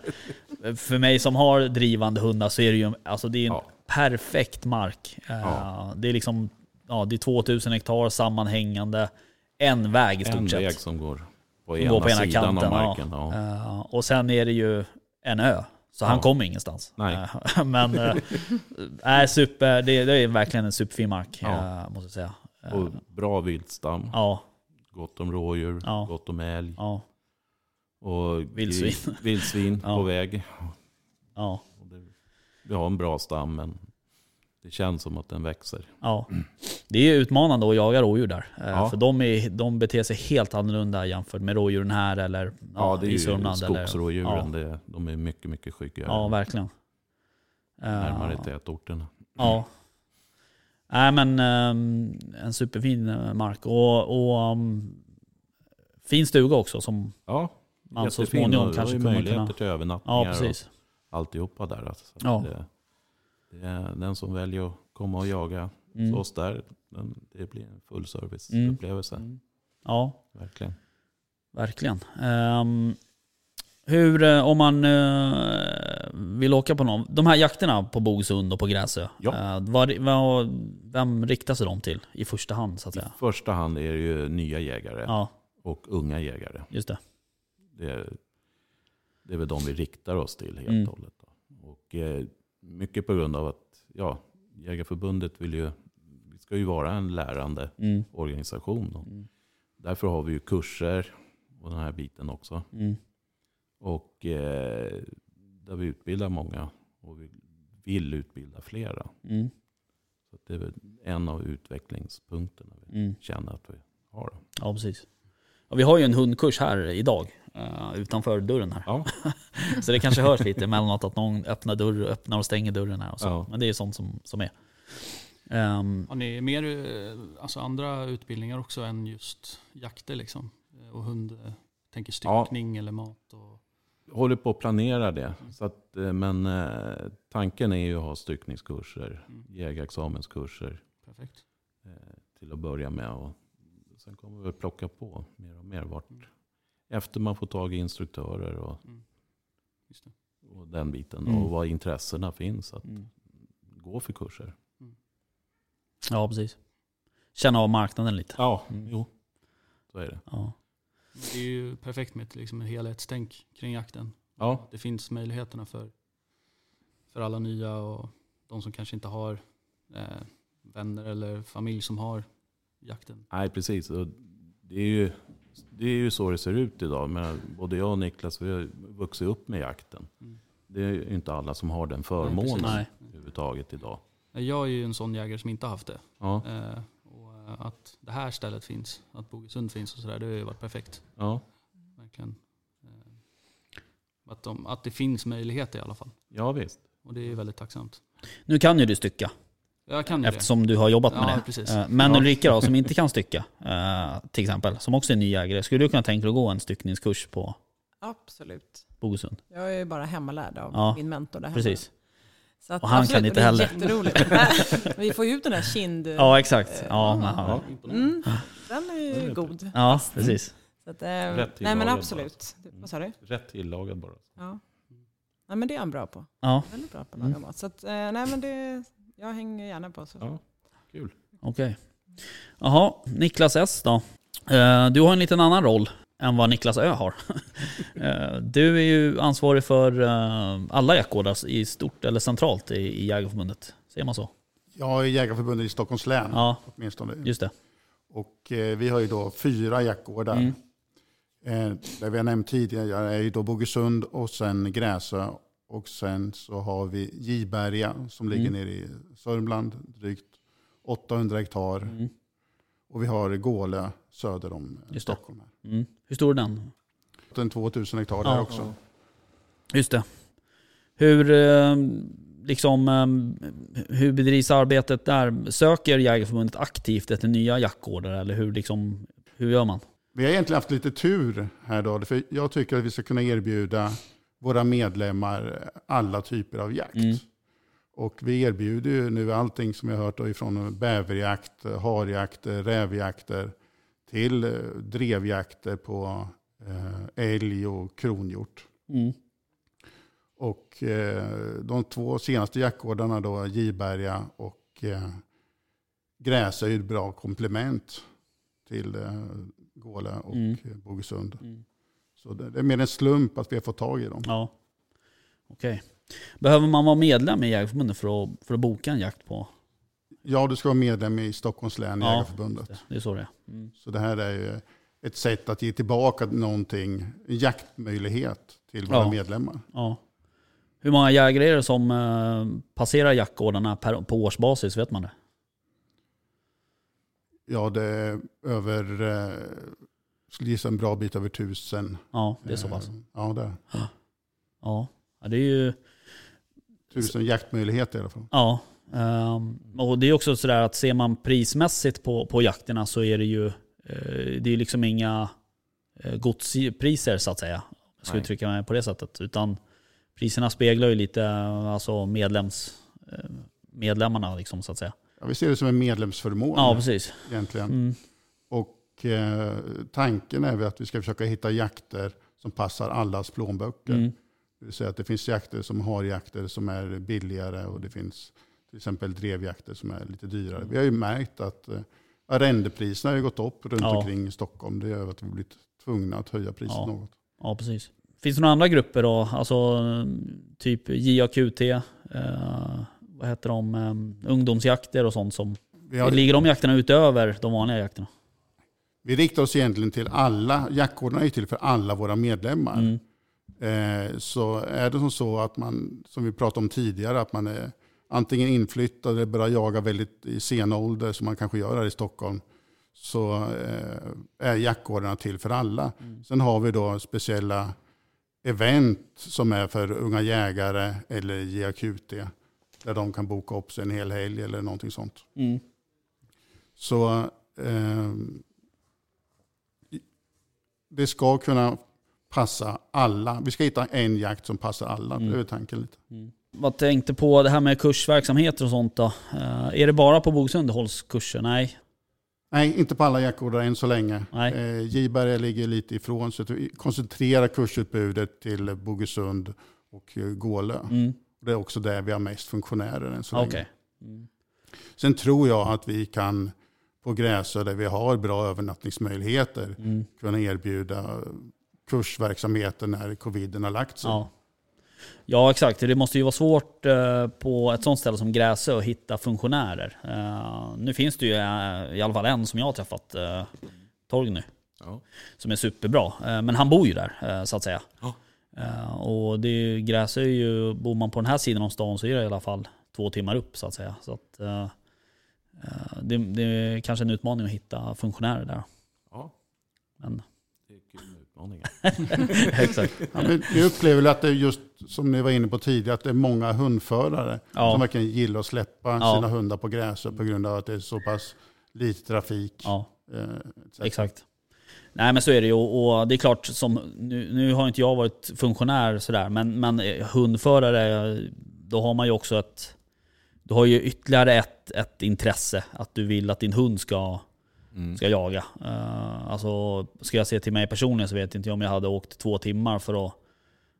Speaker 1: för mig som har drivande hundar så är det ju en- alltså det är en
Speaker 6: Ja.
Speaker 1: perfekt mark. Eh,
Speaker 6: Ja.
Speaker 1: Det är liksom ja, det är 2000 hektar sammanhängande, en väg i stort
Speaker 6: En
Speaker 1: sett.
Speaker 6: väg som går på
Speaker 1: Som
Speaker 6: ena,
Speaker 1: går på ena
Speaker 6: sidan
Speaker 1: kanten,
Speaker 6: av marken. Ja.
Speaker 1: Eh, och sen är det ju en ö, så han
Speaker 6: Ja.
Speaker 1: kommer ingenstans.
Speaker 6: Nej.
Speaker 1: Eh, men eh, nej, super, det, det är verkligen en superfin mark,
Speaker 6: Ja.
Speaker 1: eh, måste jag säga. Eh,
Speaker 6: Och bra viltstam,
Speaker 1: ja,
Speaker 6: gott om rådjur,
Speaker 1: Ja.
Speaker 6: gott om älg
Speaker 1: ja,
Speaker 6: och
Speaker 1: Vildsvin.
Speaker 6: gris- vildsvin
Speaker 1: Ja.
Speaker 6: på väg.
Speaker 1: ja,
Speaker 6: Och det, vi har en bra stam, men det känns som att den växer.
Speaker 1: ja. Det är ju utmanande att jaga rådjur där. eh,
Speaker 6: Mm. Ja.
Speaker 1: För de, är, de beter sig helt annorlunda jämfört med rådjuren här eller ja,
Speaker 6: Ja, det är
Speaker 1: i
Speaker 6: ju
Speaker 1: Sörmland. eller-
Speaker 6: skogsrådjuren. Det, de är mycket, mycket skyggare.
Speaker 1: Ja, verkligen. Eh,
Speaker 6: närmare tätorterna.
Speaker 1: Ja. Nej men ehm, en superfin eh, mark. Och, och ehm, fin stuga också som
Speaker 6: Ja,
Speaker 1: man så
Speaker 6: jättefin. Och
Speaker 1: småningom
Speaker 6: det
Speaker 1: kanske
Speaker 6: var ju
Speaker 1: kommer
Speaker 6: möjligheter
Speaker 1: kunna...
Speaker 6: till
Speaker 1: Ja
Speaker 6: övernattningar
Speaker 1: precis.
Speaker 6: och alltihopa där. Alltså. Så att
Speaker 1: Ja.
Speaker 6: Det, det är den som väljer att komma och jaga hos
Speaker 1: Mm.
Speaker 6: oss där, den, det blir en
Speaker 1: Mm.
Speaker 6: fullserviceupplevelse.
Speaker 1: Ja,
Speaker 6: Verkligen.
Speaker 1: verkligen. Ehm, hur, eh, om man eh, vill åka på någon, de här jakterna på Bogsund och på Gräsö,
Speaker 6: Ja.
Speaker 1: eh, vad- vad- vem riktar sig de till i första hand så att
Speaker 6: I
Speaker 1: säga?
Speaker 6: första hand är det ju nya jägare
Speaker 1: Ja,
Speaker 6: och unga jägare.
Speaker 1: just det.
Speaker 6: Det är, det är väl de vi riktar oss till helt
Speaker 1: Mm.
Speaker 6: och hållet. Då. Och, eh, mycket på grund av att ja, Jägarförbundet vill ju, vi ska ju vara en lärande
Speaker 1: Mm.
Speaker 6: organisation. Då.
Speaker 1: Mm.
Speaker 6: Därför har vi ju kurser och den här biten också.
Speaker 1: Mm.
Speaker 6: Och eh, där vi utbildar många och vi vill utbilda flera.
Speaker 1: Mm.
Speaker 6: Så att det är väl en av utvecklingspunkterna vi
Speaker 1: Mm.
Speaker 6: känner att vi har.
Speaker 1: Ja, precis. Ja, vi har ju en hundkurs här idag, eh, utanför dörren här.
Speaker 6: Ja.
Speaker 1: Så det kanske hörs lite emellanåt att någon öppnar, dörr, öppnar och stänger dörren här. Och så.
Speaker 6: Ja.
Speaker 1: Men det är ju sånt som, som är. Ehm,
Speaker 4: Har ni mer eh, alltså andra utbildningar också än just jakter? Liksom? eh, och hund eh, tänker styckning eller mat. Och,
Speaker 6: Håller på att planera det. Så att, eh, men eh, tanken är ju att ha styckningskurser,
Speaker 4: mm,
Speaker 6: jägarexamenskurser
Speaker 4: perfekt.
Speaker 6: eh, till att börja med. Och sen kommer vi att plocka på mer och mer vart.
Speaker 4: Mm.
Speaker 6: Efter man får tag i instruktörer och,
Speaker 4: Mm. Just det.
Speaker 6: och den biten.
Speaker 1: Mm.
Speaker 6: Och vad intressena finns att
Speaker 1: Mm.
Speaker 6: gå för kurser.
Speaker 1: Ja, precis. Känna av marknaden lite.
Speaker 6: Ja,
Speaker 1: Mm.
Speaker 6: jo. Så är det.
Speaker 1: Ja.
Speaker 4: Men det är ju perfekt med ett liksom, ett helhetstänk kring jakten.
Speaker 6: Ja,
Speaker 4: Det finns möjligheterna för, för alla nya och de som kanske inte har eh, vänner eller familj som har jakten.
Speaker 6: nej precis. Och det, är ju, det är ju så det ser ut idag. Men både jag och Niklas vi har ju vuxit upp med jakten.
Speaker 4: Mm.
Speaker 6: Det är ju inte alla som har den
Speaker 4: Nej,
Speaker 6: förmånen
Speaker 4: precis.
Speaker 1: Nej.
Speaker 6: överhuvudtaget idag.
Speaker 4: Jag är ju en sån jägare som inte haft det.
Speaker 6: Ja,
Speaker 4: Eh, och eh, att det här stället finns, att Bogesund finns och sådär, det har ju varit perfekt.
Speaker 6: ja.
Speaker 4: Verkligen. Eh, Att, de, att det finns möjligheter i alla fall.
Speaker 6: ja visst.
Speaker 4: Och det är ju väldigt tacksamt.
Speaker 1: Nu kan ju du stycka
Speaker 4: Jag kan ju
Speaker 1: eftersom du har jobbat med
Speaker 4: Ja,
Speaker 1: det.
Speaker 4: precis.
Speaker 1: Eh, Men
Speaker 4: Ja.
Speaker 1: Ulrika då, som inte kan stycka eh, till exempel, som också är ny jägare. Skulle du kunna tänka dig att gå en styckningskurs på
Speaker 2: Absolut.
Speaker 1: Bogesund?
Speaker 2: Jag är ju bara hemmalärd av
Speaker 1: Ja,
Speaker 2: min mentor där hemma.
Speaker 1: Precis.
Speaker 2: Så att,
Speaker 1: Och han
Speaker 2: absolut,
Speaker 1: kan inte
Speaker 2: det är
Speaker 1: heller.
Speaker 2: jätteroligt. Nej, Vi får ju ut den här kind...
Speaker 1: Ja, exakt.
Speaker 2: Eh,
Speaker 1: Ja,
Speaker 2: ja.
Speaker 1: men, ja.
Speaker 6: Ja.
Speaker 4: det. Mm.
Speaker 2: Mm, den är
Speaker 6: Den
Speaker 2: ju
Speaker 6: är
Speaker 2: god.
Speaker 1: ja precis.
Speaker 2: Så att, eh, nej
Speaker 6: tillagad
Speaker 2: men
Speaker 6: bara.
Speaker 2: absolut.
Speaker 6: Mm.
Speaker 2: Vad sa du?
Speaker 6: Rätt tillagad bara.
Speaker 2: Ja. Nej men det är han bra på.
Speaker 1: Ja,
Speaker 2: Väldigt bra på att
Speaker 1: Mm.
Speaker 2: laga mat. Så att, eh, nej men det... Jag hänger gärna på. Så.
Speaker 6: Ja.
Speaker 1: okej. Jaha, Niklas S då. Eh, Du har en liten annan roll än vad Niklas Ö har. Eh, Du är ju ansvarig för eh, alla jaktgårdar i stort, eller centralt i i Jägareförbundet. Säger man så?
Speaker 5: Jag är Jägareförbundet i Stockholms län
Speaker 1: Ja,
Speaker 5: åtminstone.
Speaker 1: just det.
Speaker 5: Och eh, vi har ju då fyra jaktgårdar.
Speaker 1: Mm.
Speaker 5: Eh, där vi har nämnt tidigare är ju då Bogesund och sen Gräsö. Och sen så har vi Giberga som ligger
Speaker 1: Mm.
Speaker 5: nere i Sörmland, drygt 800 hektar.
Speaker 1: Mm.
Speaker 5: Och vi har Gålö söder om eh,
Speaker 1: Just det.
Speaker 5: Stockholm. Här.
Speaker 1: Mm. Hur stor är den?
Speaker 5: Den 2000 hektar
Speaker 1: Ja.
Speaker 5: där också.
Speaker 1: Just det. Hur, eh, liksom, eh, hur bedrivs arbetet där? Söker Jägareförbundet aktivt efter nya jaktgårdar eller hur, liksom, hur gör man?
Speaker 5: Vi har egentligen haft lite tur här då. För jag tycker att vi ska kunna erbjuda våra medlemmar eh, alla typer av jakt.
Speaker 1: Mm.
Speaker 5: Och vi erbjuder ju nu allting som jag har hört då ifrån eh, bäverjakt, eh, harjakt, rävjakter till eh, drevjakter på eh, älg och kronhjort.
Speaker 1: Mm.
Speaker 5: Och eh, de två senaste jaktgårdarna då, Giberga och eh, Gräsö är ju ett bra komplement till eh, Gåle och
Speaker 1: Mm.
Speaker 5: eh, Bogesund. Så det det är mer en slump att vi har fått tag i dem.
Speaker 1: Ja. Okej. Behöver man vara medlem i Jägareförbundet för att, för att boka en jakt på?
Speaker 5: Ja, du ska vara medlem i Stockholms län,
Speaker 1: Ja,
Speaker 5: Jägareförbundet.
Speaker 1: Det, det är så det är. Mm.
Speaker 5: Så det här är ju ett sätt att ge tillbaka någonting, en jaktmöjlighet till våra
Speaker 1: Ja.
Speaker 5: medlemmar.
Speaker 1: Ja. Hur många jägare är det som eh, passerar jaktgårdarna per, på årsbasis? Vet man det?
Speaker 5: Ja, det är över, eh, skulle gissa en bra bit över tusen.
Speaker 1: Ja, det är så
Speaker 5: eh,
Speaker 1: pass.
Speaker 5: Ja, det är.
Speaker 1: Ja, ja det är ju...
Speaker 5: tusen jaktmöjligheter i alla fall.
Speaker 1: Ja. ehm, och det är också sådär att ser man prismässigt på, på jakterna så är det ju eh, det är liksom inga eh, godspriser så att säga. Jag ska
Speaker 6: Nej.
Speaker 1: uttrycka mig på det sättet. Utan priserna speglar ju lite eh, alltså medlems, eh, medlemmarna liksom så att säga.
Speaker 5: Ja, vi ser det som en medlemsförmån
Speaker 1: Ja, precis.
Speaker 5: egentligen.
Speaker 1: Mm.
Speaker 5: Och eh, tanken är väl att vi ska försöka hitta jakter som passar allas plånböcker.
Speaker 1: Mm.
Speaker 5: Det vill säga att det finns jakter som har jakter som är billigare och det finns till exempel drevjakter som är lite dyrare. Vi har ju märkt att eh, arrendepriserna har ju gått upp runt
Speaker 1: Ja.
Speaker 5: omkring i Stockholm. Det gör att vi blivit tvungna att höja priset
Speaker 1: Ja.
Speaker 5: något.
Speaker 1: Ja, precis. Finns det några andra grupper då? Alltså eh, typ JAQT, eh, vad heter de, eh, ungdomsjakter och sånt som...
Speaker 5: Vi, har,
Speaker 1: Ligger de jakterna utöver de vanliga jakterna?
Speaker 5: vi riktar oss egentligen till alla, jaktkårerna är ju till för alla våra medlemmar.
Speaker 1: Mm.
Speaker 5: Eh, så är det som så att man, som vi pratade om tidigare, att man är antingen inflyttad eller börjar jaga väldigt i sen ålder, som man kanske gör här i Stockholm, så eh, är jaktgårdarna till för alla.
Speaker 1: Mm.
Speaker 5: Sen har vi då speciella event som är för unga jägare eller JAQT, där de kan boka upp sig en hel helg eller någonting sånt.
Speaker 1: Mm.
Speaker 5: Så ehm, det ska kunna passa alla. Vi ska hitta en jakt som passar alla.
Speaker 1: Mm.
Speaker 5: Det är tanken lite.
Speaker 1: Vad tänkte på det här med kursverksamheter och sånt då? Eh, är det bara på Bogs underhållskurser? Nej.
Speaker 5: Nej, inte på alla jaktgårdar än så länge.
Speaker 1: Nej.
Speaker 5: Eh, Giberga ligger lite ifrån så att vi koncentrerar kursutbudet till Bogesund och eh, Gålö.
Speaker 1: Mm.
Speaker 5: Det är också där vi har mest funktionärer än så
Speaker 1: Okej.
Speaker 5: länge.
Speaker 1: Mm.
Speaker 5: Sen tror jag att vi kan på Gräsö där vi har bra övernattningsmöjligheter
Speaker 1: Mm.
Speaker 5: kunna erbjuda kursverksamheter när coviden har
Speaker 6: Alltså.
Speaker 5: lagt sig.
Speaker 1: Ja. ja, exakt. Det måste ju vara svårt eh, på ett sånt ställe som Gräsö att hitta funktionärer. Eh, Nu finns det ju eh, i alla fall en som jag har träffat, eh, Torgny,
Speaker 6: Ja.
Speaker 1: som är superbra. Eh, Men han bor ju där, eh, så att säga.
Speaker 6: Ja.
Speaker 1: Eh, Och det är ju, Gräsö är ju, bor man på den här sidan om stan så är det i alla fall två timmar upp, så att säga. Så att, eh, eh, det, det är kanske en utmaning att hitta funktionärer där.
Speaker 6: ja,
Speaker 1: Men,
Speaker 6: det är kul med utmaningar.
Speaker 1: exakt.
Speaker 5: Ja, men jag upplever att det är just som ni var inne på tidigare, att det är många hundförare
Speaker 1: Ja.
Speaker 5: som verkligen gillar att släppa
Speaker 1: Ja.
Speaker 5: sina hundar på Gräsö på grund av att det är så pass lite trafik.
Speaker 1: Ja.
Speaker 5: eh, etc.
Speaker 1: Exakt. Nej men så är det ju. Och det är klart, som, nu, nu har inte jag varit funktionär sådär, men, men eh, hundförare, då har man ju också ett... Du har ju ytterligare ett, ett intresse, att du vill att din hund ska,
Speaker 6: Mm.
Speaker 1: ska jaga. Uh, alltså, ska jag se till mig personligen så vet inte jag om jag hade åkt två timmar för att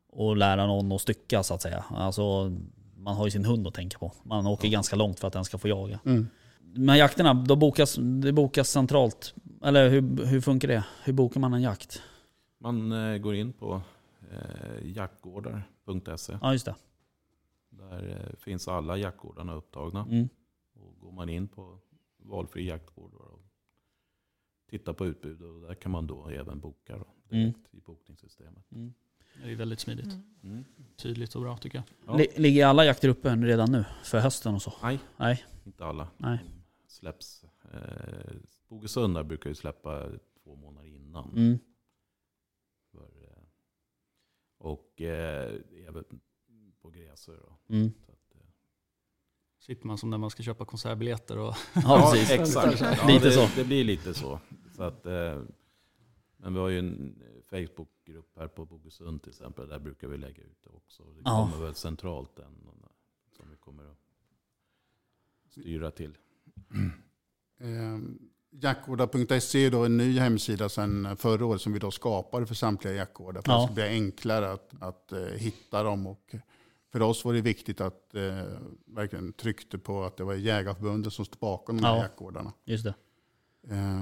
Speaker 1: och lära någon att stycka så att säga. Alltså, man har ju sin hund att tänka på. Man åker ganska långt för att den ska få jaga.
Speaker 5: Mm.
Speaker 1: Men jakterna, då bokas, det bokas centralt? Eller hur, hur funkar det? Hur bokar man en jakt?
Speaker 6: Man eh, går in på eh, jaktgårdar.se.
Speaker 1: Ja, just det.
Speaker 6: Där eh, finns alla jaktgårdarna upptagna.
Speaker 1: Mm.
Speaker 6: Och går man in på valfri jaktgård och tittar på utbudet. Och där kan man då även boka då, direkt i bokningssystemet.
Speaker 1: Mm.
Speaker 4: Det är väldigt smidigt.
Speaker 2: Mm.
Speaker 4: Tydligt och bra tycker jag.
Speaker 6: Ja.
Speaker 1: Li- Ligger alla jakter uppe redan nu? För hösten och så?
Speaker 6: Nej.
Speaker 1: Nej.
Speaker 6: Inte alla.
Speaker 1: Nej.
Speaker 6: som Släpps. Eh, Bogesund där brukar ju släppa två månader innan.
Speaker 1: Mm.
Speaker 6: För, eh, och eh, även på Gräsö då.
Speaker 1: Mm.
Speaker 6: Så att, eh,
Speaker 4: Sitter man som när man ska köpa konsertbiljetter och
Speaker 1: Ja, precis.
Speaker 6: Exakt. Ja,
Speaker 1: Lite
Speaker 6: det,
Speaker 1: så.
Speaker 6: Det blir lite så. så att, eh, men vi har ju en Facebookgrupp här på Bogesund till exempel. Där brukar vi lägga ut det också. Det
Speaker 1: Ja.
Speaker 6: kommer väl centralt den som vi kommer att styra till.
Speaker 5: Eh, Jaktgårdar.se är då en ny hemsida sedan förra året som vi då skapade för samtliga jaktgårdar. För
Speaker 1: Ja.
Speaker 5: att det ska bli enklare att, att eh, hitta dem. Och för oss var det viktigt att eh, verkligen tryckte på att det var Jägarförbundet som stod bakom de här
Speaker 1: Ja.
Speaker 5: jaktgårdarna.
Speaker 1: Just det.
Speaker 5: Eh,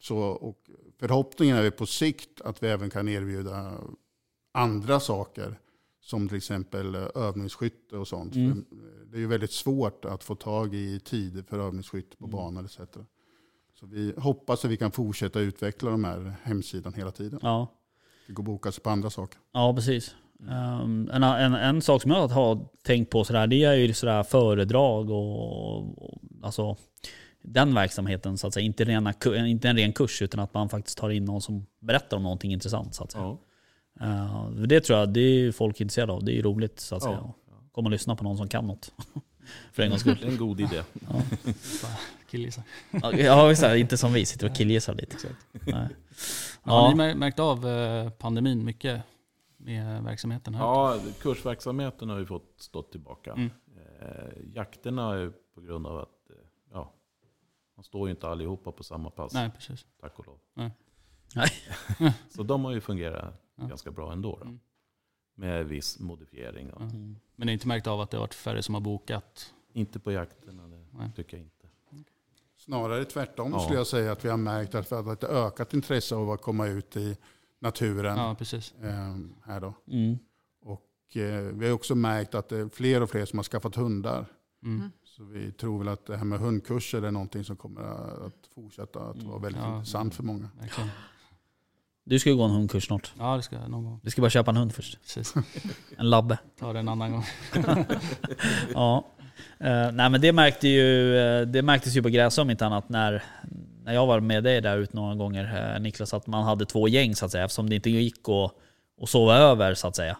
Speaker 5: så, och förhoppningen är ju på sikt att vi även kan erbjuda andra saker. Som till exempel eh, övningsskytte och sånt.
Speaker 1: Mm.
Speaker 5: För, eh, Det är ju väldigt svårt att få tag i tider för övningsskytte på
Speaker 1: Mm.
Speaker 5: banan etc. Så vi hoppas att vi kan fortsätta utveckla de här hemsidan hela tiden.
Speaker 1: Ja.
Speaker 5: Det går att boka sig på andra saker.
Speaker 1: Ja, precis. Ehm, en, en, en sak som jag har tänkt på sådär, det är ju sådär föredrag och, och alltså, den verksamheten. Så att säga. Inte, rena, ku- inte en ren kurs utan att man faktiskt tar in någon som berättar om någonting intressant. Så att säga.
Speaker 6: Ja.
Speaker 1: Ehm, det tror jag det är ju folk intresserade av. Det är ju roligt så att
Speaker 6: Ja.
Speaker 1: säga. Komma och lyssna på någon som kan något. För en gångs skull.
Speaker 6: Det är en god idé.
Speaker 4: killisar.
Speaker 1: Ja, exakt. Inte som vi sitter och killgissar lite. Nej.
Speaker 4: Har
Speaker 1: Ja.
Speaker 4: ni mär- märkt av eh, pandemin mycket med verksamheten här?
Speaker 6: Ja, kursverksamheten har ju fått stå tillbaka.
Speaker 4: Mm.
Speaker 6: Eh, jakterna är ju på grund av att eh, ja, man står ju inte allihopa på samma pass,
Speaker 4: Nej, precis.
Speaker 6: tack och lov.
Speaker 4: Nej.
Speaker 1: Nej.
Speaker 6: Så de har ju fungerat
Speaker 4: Ja.
Speaker 6: ganska bra ändå. Då.
Speaker 4: Mm.
Speaker 6: Med viss modifiering. Då.
Speaker 4: Ja. Men ni har inte märkt av att det har varit färre som har bokat?
Speaker 6: Inte på jakterna, det
Speaker 4: Nej.
Speaker 6: tycker jag inte.
Speaker 5: Snarare tvärtom
Speaker 6: Ja.
Speaker 5: skulle jag säga att vi har märkt att vi har ett ökat intresse av att komma ut i naturen.
Speaker 4: Ja, precis.
Speaker 5: ehm, här då.
Speaker 1: Mm.
Speaker 5: Och, eh, vi har också märkt att det är fler och fler som har skaffat hundar.
Speaker 4: Mm.
Speaker 2: Mm.
Speaker 5: Så vi tror väl att det här med hundkurser är någonting som kommer att fortsätta att vara väldigt
Speaker 4: Mm. Ja.
Speaker 5: intressant för många.
Speaker 4: Verkligen.
Speaker 1: Du ska ju gå en hundkurs snart.
Speaker 4: Ja, det ska jag någon gång.
Speaker 1: Du ska bara köpa en hund först.
Speaker 4: Precis.
Speaker 1: En labbe.
Speaker 4: Ta det en annan gång.
Speaker 1: Ja. Eh, nej men det, märkte ju, eh, det märktes ju på Gräsö om inte annat när, när jag var med dig där ute några gånger eh, Niklas, att man hade två gäng så att säga eftersom det inte gick att, att sova över så att säga.
Speaker 6: Ja,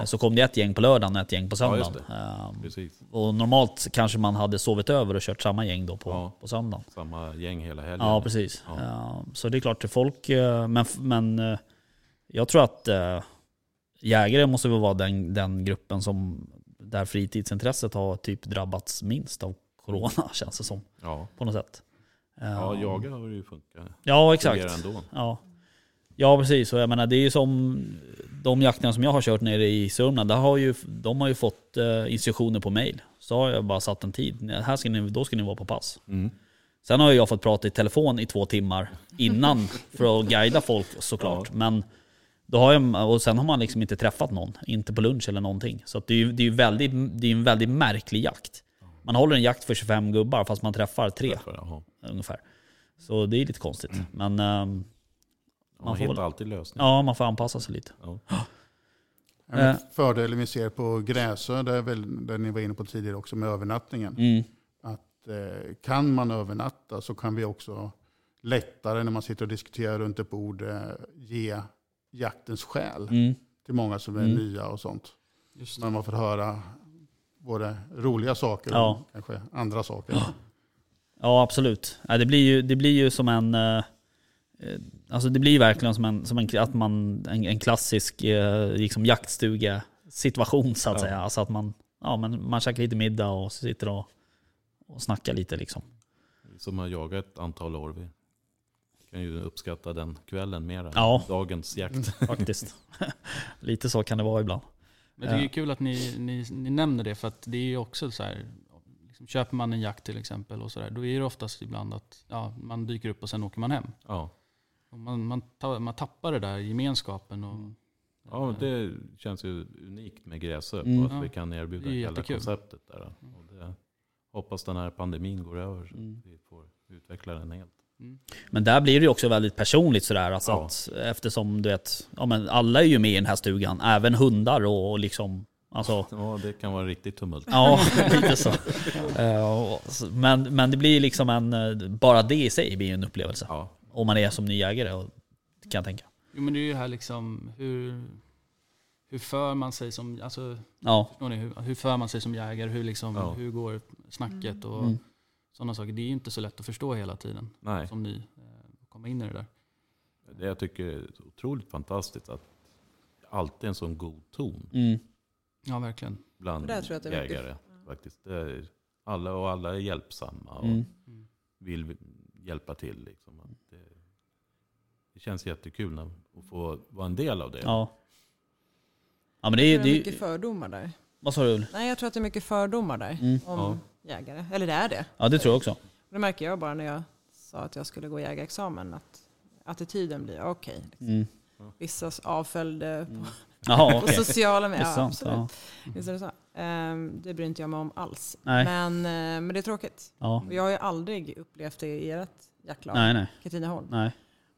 Speaker 1: Eh, Så kom det ett gäng på lördagen och ett gäng på
Speaker 6: Ja, just
Speaker 1: söndagen. Ehm,
Speaker 6: precis.
Speaker 1: och normalt kanske man hade sovit över och kört samma gäng då på,
Speaker 6: Ja.
Speaker 1: på söndagen.
Speaker 6: Samma gäng hela helgen.
Speaker 1: Ja, precis.
Speaker 6: Ja.
Speaker 1: Ehm, Så det är klart, att folk... eh, Men, men eh, jag tror att eh, jägare måste väl vara den, den gruppen som där fritidsintresset har typ drabbats minst av corona, känns det som.
Speaker 6: Ja,
Speaker 1: På något sätt. Ehm,
Speaker 6: ja jaga har det ju funkat.
Speaker 1: Ja,
Speaker 6: Exakt.
Speaker 1: exakt.
Speaker 6: Ändå.
Speaker 1: Ja. ja, precis. Och jag menar, det är ju som de jakterna som jag har kört nere i Sörmland. Där har ju, de har ju fått eh, instruktioner på mail. Så har jag bara satt en tid. Här ska ni, då ska ni vara på pass.
Speaker 6: Mm.
Speaker 1: Sen har jag fått prata i telefon i två timmar innan för att guida folk såklart. Men då har jag, och sen har man liksom inte träffat någon, inte på lunch eller någonting. Så att det är ju det är ju väldigt, det är en väldigt märklig jakt. Man håller en jakt för 25 gubbar fast man träffar tre
Speaker 6: Därför, jaha.
Speaker 1: ungefär. Så det är lite konstigt. Men ehm, Man
Speaker 6: Ja, man
Speaker 1: får
Speaker 6: hittar
Speaker 1: väl-
Speaker 6: alltid lösningar.
Speaker 1: ja, man får anpassa sig lite.
Speaker 6: Ja.
Speaker 5: Ja, men
Speaker 1: Eh.
Speaker 5: Fördelen vi ser på Gräsö, där, väl, där ni var inne på tidigare också med övernattningen.
Speaker 1: Mm.
Speaker 5: Att, eh, kan man övernatta så kan vi också lättare när man sitter och diskuterar runt ett bord eh, ge jaktens skäl
Speaker 1: Mm.
Speaker 5: till många som är
Speaker 1: Mm.
Speaker 5: nya och sånt.
Speaker 4: Just
Speaker 5: När man får höra både roliga saker och
Speaker 1: Ja.
Speaker 5: kanske andra saker.
Speaker 1: Ja, absolut. Ja, det, blir ju, det blir ju som en... eh, eh, Alltså det blir ju verkligen som en, som en, att man, en, en klassisk eh, liksom jaktstuga-situation så att
Speaker 6: Ja.
Speaker 1: säga. Alltså att man, ja, men man käkar lite middag och sitter och, och snackar lite liksom.
Speaker 6: Som har jagat ett antal år. Vi kan ju uppskatta den kvällen mer än
Speaker 1: Ja. Mm.
Speaker 6: dagens jakt.
Speaker 1: Faktiskt. lite så kan det vara ibland.
Speaker 4: Men jag tycker det är kul att ni, ni, ni nämner det för att det är ju också så här, liksom, köper man en jakt till exempel och så där, då är det oftast ibland att ja, man dyker upp och sen åker man hem.
Speaker 6: Ja.
Speaker 4: Och man, man, ta, man tappar det där gemenskapen. Och,
Speaker 6: Ja, men det känns ju unikt med Gräsö, på
Speaker 1: Mm.
Speaker 6: att
Speaker 4: Ja.
Speaker 6: vi kan erbjuda
Speaker 4: Det är ju
Speaker 6: hela
Speaker 4: jättekul.
Speaker 6: konceptet där. Och det, hoppas den här pandemin går över så att vi får utveckla den helt.
Speaker 1: Men där blir det ju också väldigt personligt sådär. Alltså
Speaker 6: Ja.
Speaker 1: att, eftersom du vet, ja, men alla är ju med i den här stugan. Även hundar och, och liksom... Alltså,
Speaker 6: Ja, det kan vara riktigt tumult.
Speaker 1: Ja, lite så. Eh, och så- Men, men det blir liksom en, eh, bara det i sig blir ju en upplevelse.
Speaker 6: Ja,
Speaker 1: Om man är som ny jägare, och- kan jag tänka.
Speaker 4: Jo men det är ju det här liksom, hur, hur för man sig som, alltså,
Speaker 1: Ja,
Speaker 4: förstår ni, hur, hur för man sig som jägare? Hur, liksom,
Speaker 6: Ja.
Speaker 4: hur går snacket och
Speaker 1: Mm.
Speaker 4: sådana saker? Det är ju inte så lätt att förstå hela tiden
Speaker 6: nej.
Speaker 4: som ny. eh, Komma in i det där.
Speaker 6: Det jag tycker är otroligt fantastiskt att alltid en sån god ton
Speaker 1: mm,
Speaker 4: Ja verkligen.
Speaker 6: bland
Speaker 2: Det där tror jag att det är viktigt.
Speaker 6: jägare. Faktiskt. Det är, alla och alla är hjälpsamma och
Speaker 1: mm,
Speaker 4: Mm.
Speaker 6: vill hjälpa till. Liksom. Att Det, det känns jättekul när, att få vara en del av det.
Speaker 1: ja. Ja men det
Speaker 2: Det
Speaker 1: är
Speaker 2: är mycket
Speaker 1: ju...
Speaker 2: fördomar där.
Speaker 1: Vad sa du? Ulf?
Speaker 2: Nej, jag tror att det är mycket fördomar där
Speaker 1: Mm.
Speaker 2: om jägare. Eller det är det.
Speaker 1: Ja det tror jag också.
Speaker 2: Det märker jag bara när jag sa att jag skulle gå jägarexamen. Att attityden blir okej.
Speaker 1: Mm.
Speaker 2: Vissa avföljde på,
Speaker 1: Jaha
Speaker 2: på
Speaker 1: okej.
Speaker 2: sociala medier. Ja,
Speaker 1: Intressant.
Speaker 2: absolut.
Speaker 1: Ja,
Speaker 2: Visst är det så? Ehm, det bryr inte jag mig om alls.
Speaker 1: Nej.
Speaker 2: Men, eh, men det är tråkigt.
Speaker 1: ja.
Speaker 2: Och Jag har ju aldrig upplevt det i ert jaktlag,
Speaker 1: Nej nej,
Speaker 2: Katrineholm.
Speaker 1: nej,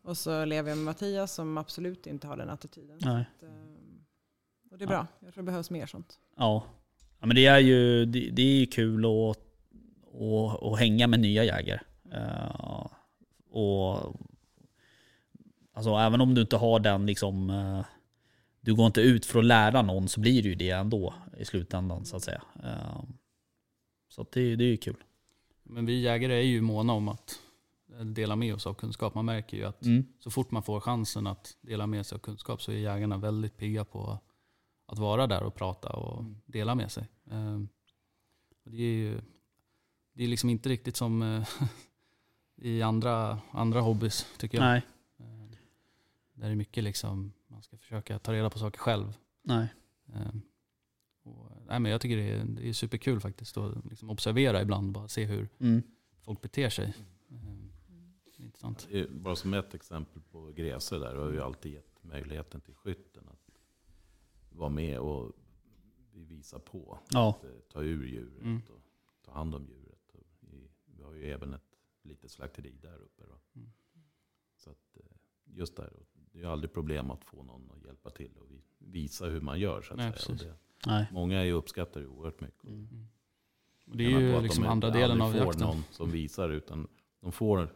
Speaker 2: Och så lever jag med Mattias som absolut inte har den attityden.
Speaker 1: nej.
Speaker 2: Att, ehm, och det är bra. Jag tror det behövs mer sånt.
Speaker 1: Ja. ja men det är ju, det, det är ju kul att, att, att hänga med nya jägare. Eh, och alltså, även om du inte har den liksom, eh, du går inte ut för att lära någon så blir det ju det ändå i slutändan så att säga. Eh, så att det, det är ju kul.
Speaker 4: Men vi jägare är ju måna om att eh, dela med oss av kunskap. Man märker ju att så fort man får chansen att dela med sig av kunskap så är jägarna väldigt pigga på att vara där och prata och
Speaker 6: Mm.
Speaker 4: dela med sig. Eh, och Det är ju det är liksom inte riktigt som eh, i andra, andra hobbys tycker jag.
Speaker 1: Nej,
Speaker 4: Eh, Där är mycket liksom, man ska försöka ta reda på saker själv.
Speaker 1: nej.
Speaker 4: Eh, Och, nej men jag tycker det är, det är superkul faktiskt att liksom observera ibland, bara se hur
Speaker 1: Mm.
Speaker 4: folk beter sig.
Speaker 6: Mm.
Speaker 4: Eh, det är Intressant.
Speaker 6: Det är eh, Bara som ett exempel på Gräsö där har vi alltid gett möjligheten till skytten att vara med och visa på.
Speaker 1: Ja.
Speaker 6: Att, eh, ta ur djuret
Speaker 4: Mm.
Speaker 6: och ta hand om djuret. Och i- Vi har ju även ett litet slakteri där uppe. Då.
Speaker 4: Mm.
Speaker 6: Så att eh, just där, och det är ju aldrig problem att få någon att hjälpa till och vi- visa hur man gör. Så att
Speaker 4: Nej,
Speaker 6: säga. Och
Speaker 4: precis.
Speaker 6: det,
Speaker 1: Nej.
Speaker 6: många är ju uppskattar det oerhört mycket.
Speaker 4: Och det är
Speaker 6: Jag menar på
Speaker 4: ju
Speaker 6: att de
Speaker 4: liksom
Speaker 6: inte
Speaker 4: andra delen av
Speaker 6: aldrig får
Speaker 4: jakten.
Speaker 6: någon som visar utan de får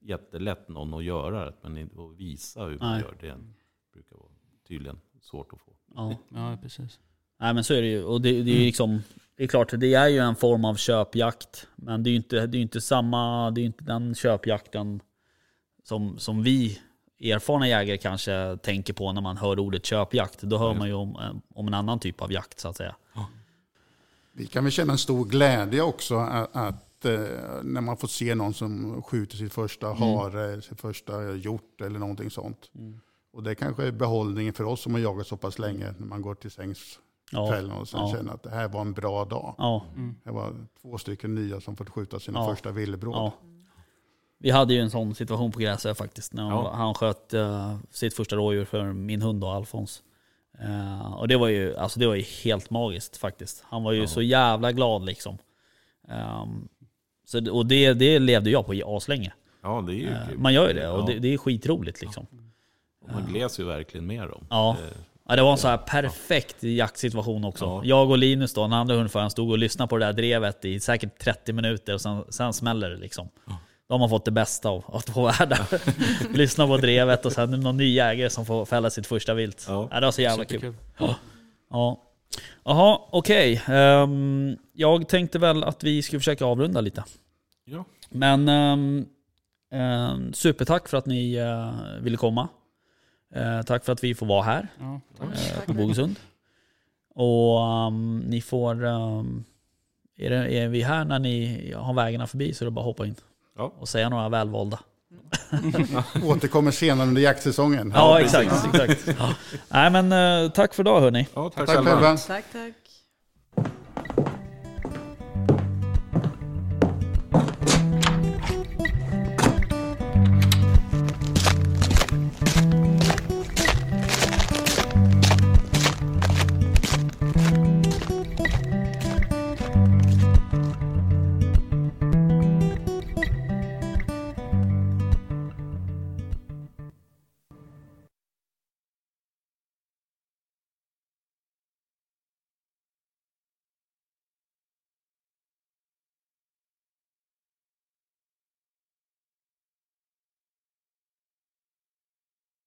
Speaker 6: jättelätt någon att göra det men inte att visa hur man
Speaker 1: Nej.
Speaker 6: gör det brukar vara tydligen svårt att få.
Speaker 1: Ja.
Speaker 4: Ja, precis.
Speaker 1: Nej men så är det ju. Och det, det är ju liksom, det är klart, det är ju en form av köpjakt. Men det är ju inte, det är ju inte samma, det är ju inte den köpjakten som, som vi erfarna jägare kanske tänker på när man hör ordet köpjakt. Då hör man ju om, en- om en annan typ av jakt så att säga.
Speaker 5: Vi kan väl känna en stor glädje också att, att eh, när man får se någon som skjuter sitt första
Speaker 1: Mm.
Speaker 5: hare, sitt första hjort eller någonting sånt. Och det kanske är behållningen för oss som har jagat så pass länge när man går till sängs på
Speaker 1: Ja.
Speaker 5: kvällen och sen
Speaker 1: Ja.
Speaker 5: känner att det här var en bra dag.
Speaker 1: ja.
Speaker 5: Det var två stycken nya som fått skjuta sina
Speaker 1: Ja.
Speaker 5: första villebråd.
Speaker 1: Ja. Vi hade ju en sån situation på Gräsö faktiskt. När
Speaker 6: Ja.
Speaker 1: han sköt eh, sitt första rådjur för min hund då, Alfons. Eh, och det var, ju, alltså det var ju helt magiskt faktiskt. Han var ju
Speaker 6: Ja.
Speaker 1: så jävla glad liksom. Ehm, så, det- och det, det levde jag på i aslänge.
Speaker 6: Ja, det är ju
Speaker 1: Eh,
Speaker 6: kul.
Speaker 1: man gör ju det och
Speaker 6: Ja.
Speaker 1: det, det är skitroligt liksom.
Speaker 6: Och Man gläds ju verkligen med dem.
Speaker 1: Ja.
Speaker 6: Eh,
Speaker 1: Ja, det var en så här perfekt jaktsituation också.
Speaker 6: Ja.
Speaker 1: Jag och Linus då, den andra hundföraren, stod och lyssnade på det där drevet i säkert 30 minuter och sen, sen smäller det liksom. Då har man fått det bästa av av två världar. Lyssna på drevet och sen är det någon ny jägare som får fälla sitt första vilt. Ja.
Speaker 6: Ja.
Speaker 1: det var så jävla kul. Ja. Jaha, okej. Ehm, jag tänkte väl att vi skulle försöka avrunda lite.
Speaker 6: Ja.
Speaker 1: Men ehm, ehm, supertack för att ni eh, ville komma. Eh, tack för att vi får vara här
Speaker 4: Ja, tack.
Speaker 1: eh,
Speaker 2: Tack.
Speaker 1: på Bogesund. Och ehm, ni får... ehm, är, det, är vi här när ni har vägarna förbi så är det bara att hoppa in.
Speaker 6: Ja.
Speaker 1: Och säga några välvalda.
Speaker 5: Återkommer senare under jaktsäsongen.
Speaker 1: Ja, exakt. exakt. Ja. Nej, men eh, tack för idag hörni.
Speaker 6: Ja, tack,
Speaker 5: Tack
Speaker 6: själva.
Speaker 5: själva.
Speaker 2: Tack, tack.